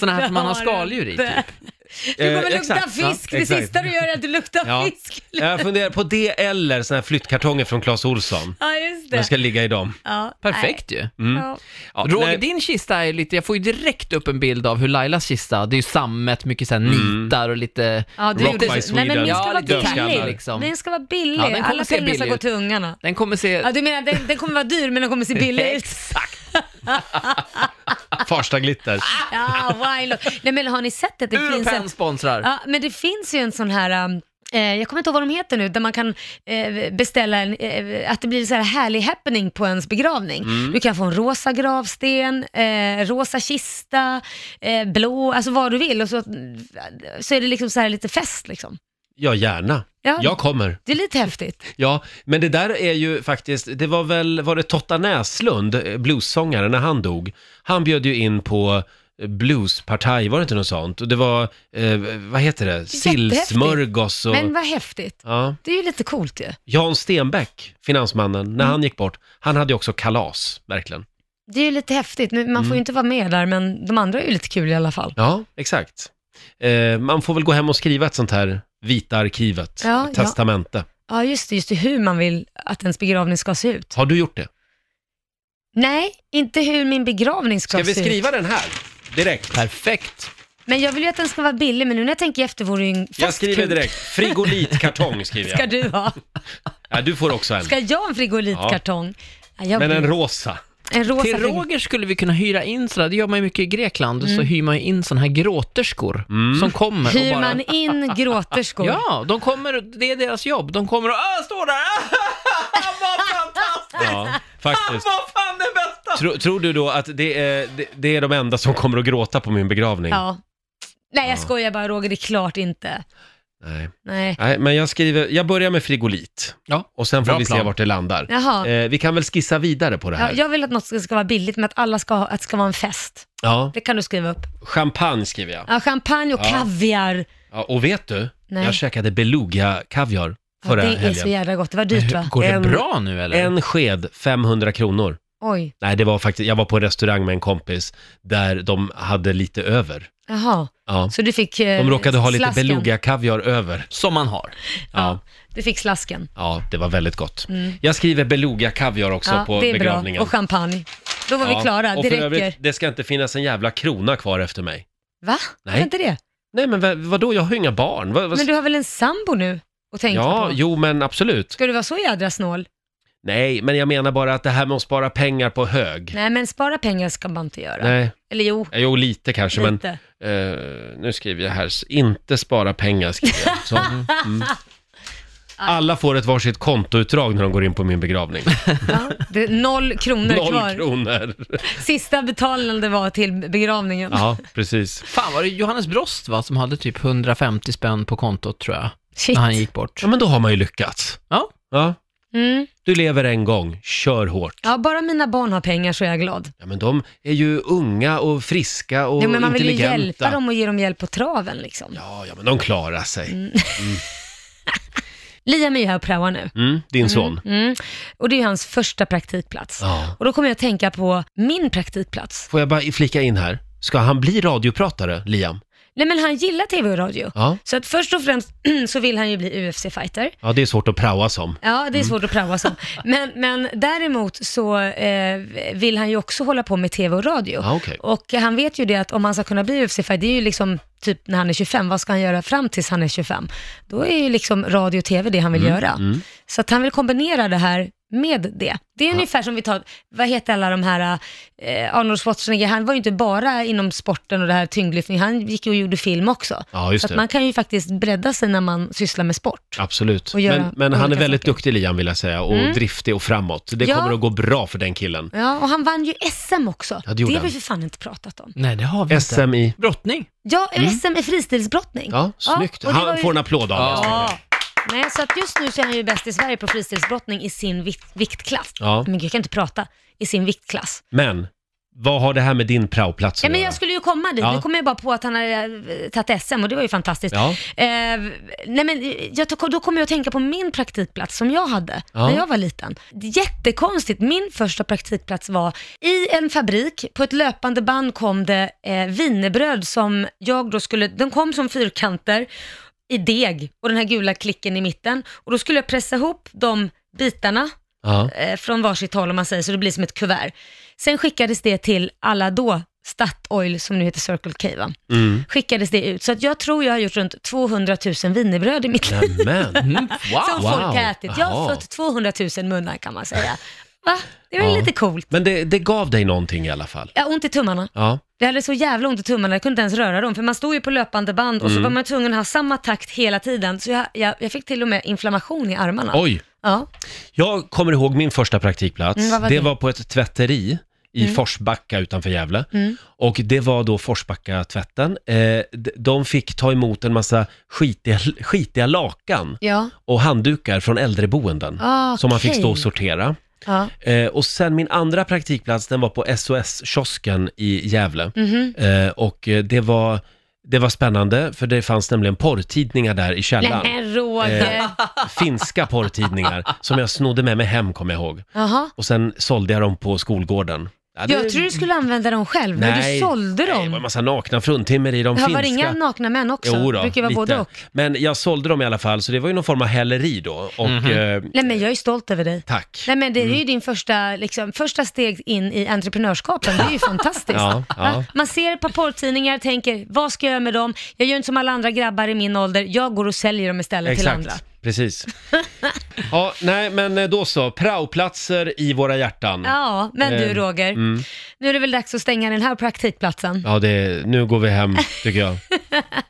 [SPEAKER 3] Sådana här som man har
[SPEAKER 2] det
[SPEAKER 3] skaldjur i typ.
[SPEAKER 2] inte. Du kommer
[SPEAKER 1] Eh,
[SPEAKER 2] lukta
[SPEAKER 1] exakt, ja,
[SPEAKER 2] fisk. det
[SPEAKER 1] exakt.
[SPEAKER 2] sista du gör är att du luktar <laughs>
[SPEAKER 1] Ja.
[SPEAKER 2] fisk.
[SPEAKER 1] Jag funderar på det eller såna här flyttkartonger från Clas Ohlson.
[SPEAKER 2] Ja, just det.
[SPEAKER 1] Jag ska Mm. ligga i dem.
[SPEAKER 2] Ja,
[SPEAKER 3] Perfekt ju.
[SPEAKER 2] nej. Ja.
[SPEAKER 1] Ja,
[SPEAKER 3] Roger,
[SPEAKER 1] nej.
[SPEAKER 3] din kista är lite, jag får ju direkt upp en bild av hur Lailas kista, det är ju sammet, mycket såhär nitar och lite...
[SPEAKER 2] Mm. Ja, du,
[SPEAKER 1] Rock
[SPEAKER 2] inte-
[SPEAKER 1] by
[SPEAKER 2] Nej,
[SPEAKER 1] Sweden.
[SPEAKER 2] men min
[SPEAKER 1] Ja,
[SPEAKER 2] ska vara
[SPEAKER 1] lite
[SPEAKER 2] billig.
[SPEAKER 1] dödskallar,
[SPEAKER 3] liksom.
[SPEAKER 2] Den ska vara billig.
[SPEAKER 3] Ja, den kommer
[SPEAKER 2] Alla
[SPEAKER 3] se
[SPEAKER 2] pengar ska
[SPEAKER 3] billig
[SPEAKER 2] gå
[SPEAKER 3] ut.
[SPEAKER 2] till ungarna.
[SPEAKER 3] Den kommer se...
[SPEAKER 2] Ja, du menar den, den kommer vara dyr men den kommer se billig ut?
[SPEAKER 3] Exakt!
[SPEAKER 1] Farsta glitter.
[SPEAKER 2] <laughs> Ja, why not? Nej men har ni sett att det
[SPEAKER 3] Ur och
[SPEAKER 2] finns
[SPEAKER 3] Penn
[SPEAKER 2] en...
[SPEAKER 3] sponsrar.
[SPEAKER 2] Ja, men det finns ju en sån här... um, Eh, jag kommer inte ihåg vad de heter nu, där man kan eh, beställa en, eh, att det blir så här härlig happening på ens begravning.
[SPEAKER 3] Mm.
[SPEAKER 2] Du kan få en rosa gravsten, eh, rosa kista, eh, blå, alltså vad du vill. Och så, så är det liksom så här lite fest liksom.
[SPEAKER 1] Ja, gärna.
[SPEAKER 2] Ja.
[SPEAKER 1] Jag kommer.
[SPEAKER 2] Det är lite häftigt.
[SPEAKER 1] Ja, men det där är ju faktiskt, det var väl, var det Totta Näslund, eh, bluessångaren, när han dog? Han bjöd ju in på eh, bluespartaj, var det inte något sånt? Och det var, eh, vad heter det, sillsmörgås och...
[SPEAKER 2] Men vad häftigt.
[SPEAKER 1] Ja.
[SPEAKER 2] Det är ju lite coolt ju.
[SPEAKER 1] Jan Stenbeck, finansmannen, när han gick bort, han hade ju också kalas, verkligen.
[SPEAKER 2] Det är ju lite häftigt, men man får
[SPEAKER 3] Mm.
[SPEAKER 2] ju inte vara med där, men de andra är ju lite kul i alla fall.
[SPEAKER 1] Ja, exakt. Eh, man får väl gå hem och skriva ett sånt här vita arkivet,
[SPEAKER 2] Ja,
[SPEAKER 1] ett testamente.
[SPEAKER 2] Ja, just det, just det, hur man vill att ens begravning ska se ut.
[SPEAKER 1] Har du gjort det?
[SPEAKER 2] Nej, inte hur min begravning ska,
[SPEAKER 1] Ska vi
[SPEAKER 2] se ut.
[SPEAKER 1] skriva den här? Direkt.
[SPEAKER 3] Perfekt!
[SPEAKER 2] Men jag vill ju att den ska vara billig, men nu när jag tänker efter vore det ju en fest
[SPEAKER 1] Jag skriver
[SPEAKER 2] kul.
[SPEAKER 1] direkt. Frigolitkartong skriver
[SPEAKER 2] Ska
[SPEAKER 1] jag.
[SPEAKER 2] du ha?
[SPEAKER 1] Ja, du får också en.
[SPEAKER 2] Ska jag ha en frigolitkartong? Ja. jag
[SPEAKER 1] Men en
[SPEAKER 2] blir-
[SPEAKER 1] rosa.
[SPEAKER 2] en rosa
[SPEAKER 3] Till
[SPEAKER 2] frigol-
[SPEAKER 3] Roger skulle vi kunna hyra in sådär, det gör man ju mycket i Grekland, så hyr man ju in sådana här gråterskor som kommer och
[SPEAKER 2] Mm. Hyr
[SPEAKER 3] bara...
[SPEAKER 2] man in
[SPEAKER 1] <laughs>
[SPEAKER 2] gråterskor?
[SPEAKER 3] Ja, de kommer, det är deras jobb. De kommer och ah, står där, ah, vad fantastiskt!
[SPEAKER 1] Ja,
[SPEAKER 3] Ah,
[SPEAKER 1] faktiskt.
[SPEAKER 3] vad fan det bästa!
[SPEAKER 1] Tro, tror du då att det är, det, det är de enda som kommer att gråta på min begravning?
[SPEAKER 2] Ja. Nej, jag skojar bara Roger, det är klart inte.
[SPEAKER 1] Nej.
[SPEAKER 2] Nej.
[SPEAKER 1] Nej, men jag skriver, jag börjar med frigolit.
[SPEAKER 3] Ja.
[SPEAKER 1] Och sen får
[SPEAKER 3] Bra
[SPEAKER 1] vi se
[SPEAKER 3] plan.
[SPEAKER 1] vart det landar.
[SPEAKER 2] Jaha.
[SPEAKER 1] Eh, vi kan väl skissa vidare på det
[SPEAKER 2] Ja,
[SPEAKER 1] här.
[SPEAKER 2] jag vill att något ska ska vara billigt, men att alla ska ha, att det ska vara en fest.
[SPEAKER 1] Ja,
[SPEAKER 2] Det kan du skriva upp.
[SPEAKER 1] champagne skriver jag.
[SPEAKER 2] Ja, champagne och
[SPEAKER 1] Ja.
[SPEAKER 2] kaviar.
[SPEAKER 1] Ja, och vet du?
[SPEAKER 2] Nej.
[SPEAKER 1] Jag käkade beluga-kaviar
[SPEAKER 2] Ja,
[SPEAKER 1] förra
[SPEAKER 2] det är så
[SPEAKER 1] helgen.
[SPEAKER 2] jävla gott. Det var dyrt va?
[SPEAKER 3] Går det
[SPEAKER 1] En-
[SPEAKER 3] bra nu eller?
[SPEAKER 1] En sked, 500 kronor.
[SPEAKER 2] Oj,
[SPEAKER 1] Nej, det var faktiskt, jag var på en restaurang med en kompis där de hade lite över.
[SPEAKER 2] jaha.
[SPEAKER 1] Ja.
[SPEAKER 2] Så du fick eh,
[SPEAKER 1] De råkade ha lite
[SPEAKER 2] slasken.
[SPEAKER 1] beluga-kaviar över.
[SPEAKER 3] Som man har.
[SPEAKER 1] Ja,
[SPEAKER 2] Ja. Du fick slasken.
[SPEAKER 1] ja, det var väldigt gott. Jag skriver beluga-kaviar också
[SPEAKER 2] Ja,
[SPEAKER 1] på
[SPEAKER 2] det är bra.
[SPEAKER 1] begravningen.
[SPEAKER 2] Och champagne. Då var vi
[SPEAKER 1] Ja,
[SPEAKER 2] klara,
[SPEAKER 1] och
[SPEAKER 2] det
[SPEAKER 1] för
[SPEAKER 2] räcker.
[SPEAKER 1] Övrigt, det ska inte finnas en jävla krona kvar efter mig.
[SPEAKER 2] Va?
[SPEAKER 1] Nej.
[SPEAKER 2] Nej. inte det?
[SPEAKER 1] Nej men vad, vadå, jag har ju inga barn. Vad, vad...
[SPEAKER 2] Men du har väl en sambo nu att tänka
[SPEAKER 1] ja,
[SPEAKER 2] på?
[SPEAKER 1] jo men absolut.
[SPEAKER 2] Ska du vara så jädra snål?
[SPEAKER 1] Nej, men jag menar bara att det här med att spara pengar på hög.
[SPEAKER 2] Nej, men spara pengar ska man inte göra.
[SPEAKER 1] Nej,
[SPEAKER 2] Eller jo,
[SPEAKER 1] Eh, jo lite kanske men
[SPEAKER 2] lite.
[SPEAKER 1] eh, nu skriver jag här, s- inte spara pengar skriver
[SPEAKER 2] <laughs>
[SPEAKER 1] jag. Så, mm. Alla får ett varsitt kontoutdrag när de går in på min
[SPEAKER 2] <laughs>
[SPEAKER 1] begravning.
[SPEAKER 2] Ja, det är noll kronor
[SPEAKER 1] Noll
[SPEAKER 2] kvar.
[SPEAKER 1] kronor.
[SPEAKER 2] <laughs> Sista betalande var till begravningen.
[SPEAKER 1] Ja, precis.
[SPEAKER 3] Fan var det Johannes Brost va, som hade typ 150 spänn på kontot tror jag,
[SPEAKER 2] Shit.
[SPEAKER 3] när han gick bort.
[SPEAKER 1] Ja, men då har man ju lyckats.
[SPEAKER 3] Ja.
[SPEAKER 1] Ja,
[SPEAKER 2] Mm.
[SPEAKER 1] du lever en gång, kör hårt.
[SPEAKER 2] Ja, bara mina barn har pengar så är jag glad.
[SPEAKER 1] Ja, men de är ju unga och friska och
[SPEAKER 2] Ja, men man vill ju
[SPEAKER 1] intelligenta.
[SPEAKER 2] hjälpa dem och ge dem hjälp på traven liksom.
[SPEAKER 1] Ja, ja, men de klarar sig.
[SPEAKER 2] Mm. Liam är ju här och praoar nu.
[SPEAKER 1] Mm, din son.
[SPEAKER 2] Mm. Och det är ju hans första praktikplats.
[SPEAKER 1] Ja.
[SPEAKER 2] Och då kommer jag att tänka på min praktikplats.
[SPEAKER 1] Får jag bara flika in här? Ska han bli radiopratare, Liam?
[SPEAKER 2] Nej men han gillar tv och radio.
[SPEAKER 1] Ja.
[SPEAKER 2] Så att först och främst <clears throat> så vill han ju bli UFC-fighter.
[SPEAKER 1] Ja, det är svårt att praoa som.
[SPEAKER 2] Ja, det är svårt att praoa som. Men, men däremot så eh, vill han ju också hålla på med tv och radio.
[SPEAKER 1] Ja, okej.
[SPEAKER 2] Och han vet ju det att om han ska kunna bli UFC-fighter, det är ju liksom typ när han är 25, vad ska han göra fram tills han är 25? Då är ju liksom radio och tv det han
[SPEAKER 1] Mm,
[SPEAKER 2] vill göra. Så att han vill kombinera det här med det. Det är ungefär som vi tar, vad heter alla de här, eh, Arnold Schwarzenegger, han var ju inte bara inom sporten och det här tyngdlyftning, han gick ju och gjorde film också.
[SPEAKER 1] Ja, just
[SPEAKER 2] Så att
[SPEAKER 1] det.
[SPEAKER 2] man kan ju faktiskt bredda sig när man sysslar med sport.
[SPEAKER 1] Absolut.
[SPEAKER 2] Och göra
[SPEAKER 1] Men, men han är
[SPEAKER 2] olika
[SPEAKER 1] väldigt
[SPEAKER 2] saker.
[SPEAKER 1] duktig, Liam, vill jag säga. Och driftig och framåt. Det
[SPEAKER 2] Ja.
[SPEAKER 1] kommer att gå bra för den killen.
[SPEAKER 2] Ja, och han vann ju SM också.
[SPEAKER 1] Ja, det
[SPEAKER 2] det
[SPEAKER 1] gjorde
[SPEAKER 2] har vi
[SPEAKER 1] han.
[SPEAKER 2] för fan inte pratat om.
[SPEAKER 3] Nej, det har vi inte.
[SPEAKER 1] SM i...
[SPEAKER 3] Brottning.
[SPEAKER 2] Ja, SM i fristilsbrottning.
[SPEAKER 1] Mm. Ja, snyggt.
[SPEAKER 2] och det var
[SPEAKER 1] Han
[SPEAKER 2] ju-
[SPEAKER 1] får en applåd av oss.
[SPEAKER 3] Ja.
[SPEAKER 2] Ja. Nej, så att just nu så är han ju bäst i Sverige på fristilsbrottning i sin vikt, viktklass.
[SPEAKER 1] Ja.
[SPEAKER 2] Men gud, jag kan inte prata. I sin viktklass.
[SPEAKER 1] Men, vad har det här med din praoplats
[SPEAKER 2] Ja,
[SPEAKER 1] att
[SPEAKER 2] men
[SPEAKER 1] göra?
[SPEAKER 2] jag skulle ju komma dit.
[SPEAKER 1] Ja.
[SPEAKER 2] Nu kom jag bara på att han hade eh, tagit SM och det var ju fantastiskt.
[SPEAKER 1] Ja.
[SPEAKER 2] Eh, nej men eh, jag, tog- då kommer jag att tänka på min praktikplats som jag hade
[SPEAKER 1] Ja.
[SPEAKER 2] när jag var liten. Jättekonstigt, min första praktikplats var i en fabrik, på ett löpande band kom det eh, vinerbröd som jag då skulle, de kom som fyrkanter i deg och den här gula klicken i mitten och då skulle jag pressa ihop de bitarna
[SPEAKER 1] Ja.
[SPEAKER 2] eh, från varsitt håll om man säger så det blir som ett kuvert. Sen skickades det till alla då Statoil som nu heter Circle K va?
[SPEAKER 1] Mm.
[SPEAKER 2] skickades det ut. Så att jag tror jag har gjort runt 200 000 wienerbröd
[SPEAKER 1] <laughs>
[SPEAKER 2] i mitt liv
[SPEAKER 1] Nämen.
[SPEAKER 2] <laughs>
[SPEAKER 3] Mm.
[SPEAKER 2] som
[SPEAKER 3] Wow.
[SPEAKER 1] Wow.
[SPEAKER 2] folk har ätit. Jag har
[SPEAKER 1] Jaha.
[SPEAKER 2] fått 200 000 munnar kan man säga. Va? Det var
[SPEAKER 1] Ja.
[SPEAKER 2] lite coolt.
[SPEAKER 1] Men det, det gav dig någonting i alla fall.
[SPEAKER 2] Jag har ont i tummarna.
[SPEAKER 1] Ja.
[SPEAKER 2] Jag hade så jävla ont i tummarna, jag kunde inte ens röra dem. För man stod ju på löpande band
[SPEAKER 1] Mm.
[SPEAKER 2] och så var man tvungen att ha samma takt hela tiden. Så jag, jag, jag fick till och med inflammation i armarna.
[SPEAKER 1] Oj.
[SPEAKER 2] Ja.
[SPEAKER 1] Jag kommer ihåg min första praktikplats.
[SPEAKER 2] Mm, vad var
[SPEAKER 1] det
[SPEAKER 2] det? Mm.
[SPEAKER 1] var på ett tvätteri i Forsbacka utanför Gävle. Och det var då Forsbacka-tvätten. Eh, d- de fick ta emot en massa skitiga, skitiga lakan
[SPEAKER 2] Ja.
[SPEAKER 1] och handdukar från äldreboenden.
[SPEAKER 2] Ah,
[SPEAKER 1] Som man fick
[SPEAKER 2] okej.
[SPEAKER 1] stå och sortera.
[SPEAKER 2] Ja.
[SPEAKER 1] Eh, och sen min andra praktikplats, den var på SOS-kiosken i Gävle.
[SPEAKER 2] Mhm. Mm.
[SPEAKER 1] Eh, och eh, det var, det var spännande, för det fanns nämligen porrtidningar där i
[SPEAKER 2] Nej,
[SPEAKER 1] källaren.
[SPEAKER 2] men Roger.
[SPEAKER 1] Eh. Finska
[SPEAKER 2] <laughs>
[SPEAKER 1] porrtidningar, som jag snodde med mig hem, kommer jag ihåg.
[SPEAKER 2] Jaha.
[SPEAKER 1] Och sen sålde jag dem på skolgården. Ja, det-
[SPEAKER 2] Jag tror du skulle använda dem själv, men du sålde
[SPEAKER 1] Nej, det var en
[SPEAKER 2] dem.
[SPEAKER 1] massa nakna fruntimmer i de
[SPEAKER 2] Det
[SPEAKER 1] finska.
[SPEAKER 2] var det inga nakna män också?
[SPEAKER 1] Jo
[SPEAKER 2] det
[SPEAKER 1] då,
[SPEAKER 2] brukar vara både
[SPEAKER 1] lite.
[SPEAKER 2] och.
[SPEAKER 1] Men jag sålde dem i alla fall, så det var ju någon form av häleri då. Och eh,
[SPEAKER 2] Nej men jag är stolt över dig.
[SPEAKER 1] tack.
[SPEAKER 2] Mhm. Nej men det är
[SPEAKER 1] Mm.
[SPEAKER 2] ju din första, liksom, första steg in i entreprenörskapen, det är ju
[SPEAKER 1] <laughs>
[SPEAKER 2] fantastiskt.
[SPEAKER 1] Ja, ja.
[SPEAKER 2] Va? Man ser ett par porrtidningar och tänker, vad ska jag göra med dem? Jag gör inte som alla andra grabbar i min ålder, jag går och säljer dem istället till andra.
[SPEAKER 1] precis. ja, nej, men eh, då så. Praoplatser i våra hjärtan. Ja,
[SPEAKER 2] Ja, men
[SPEAKER 1] Eh,
[SPEAKER 2] du Roger, nu är det väl dags att stänga den här praktikplatsen.
[SPEAKER 1] det, nu går vi hem, tycker jag.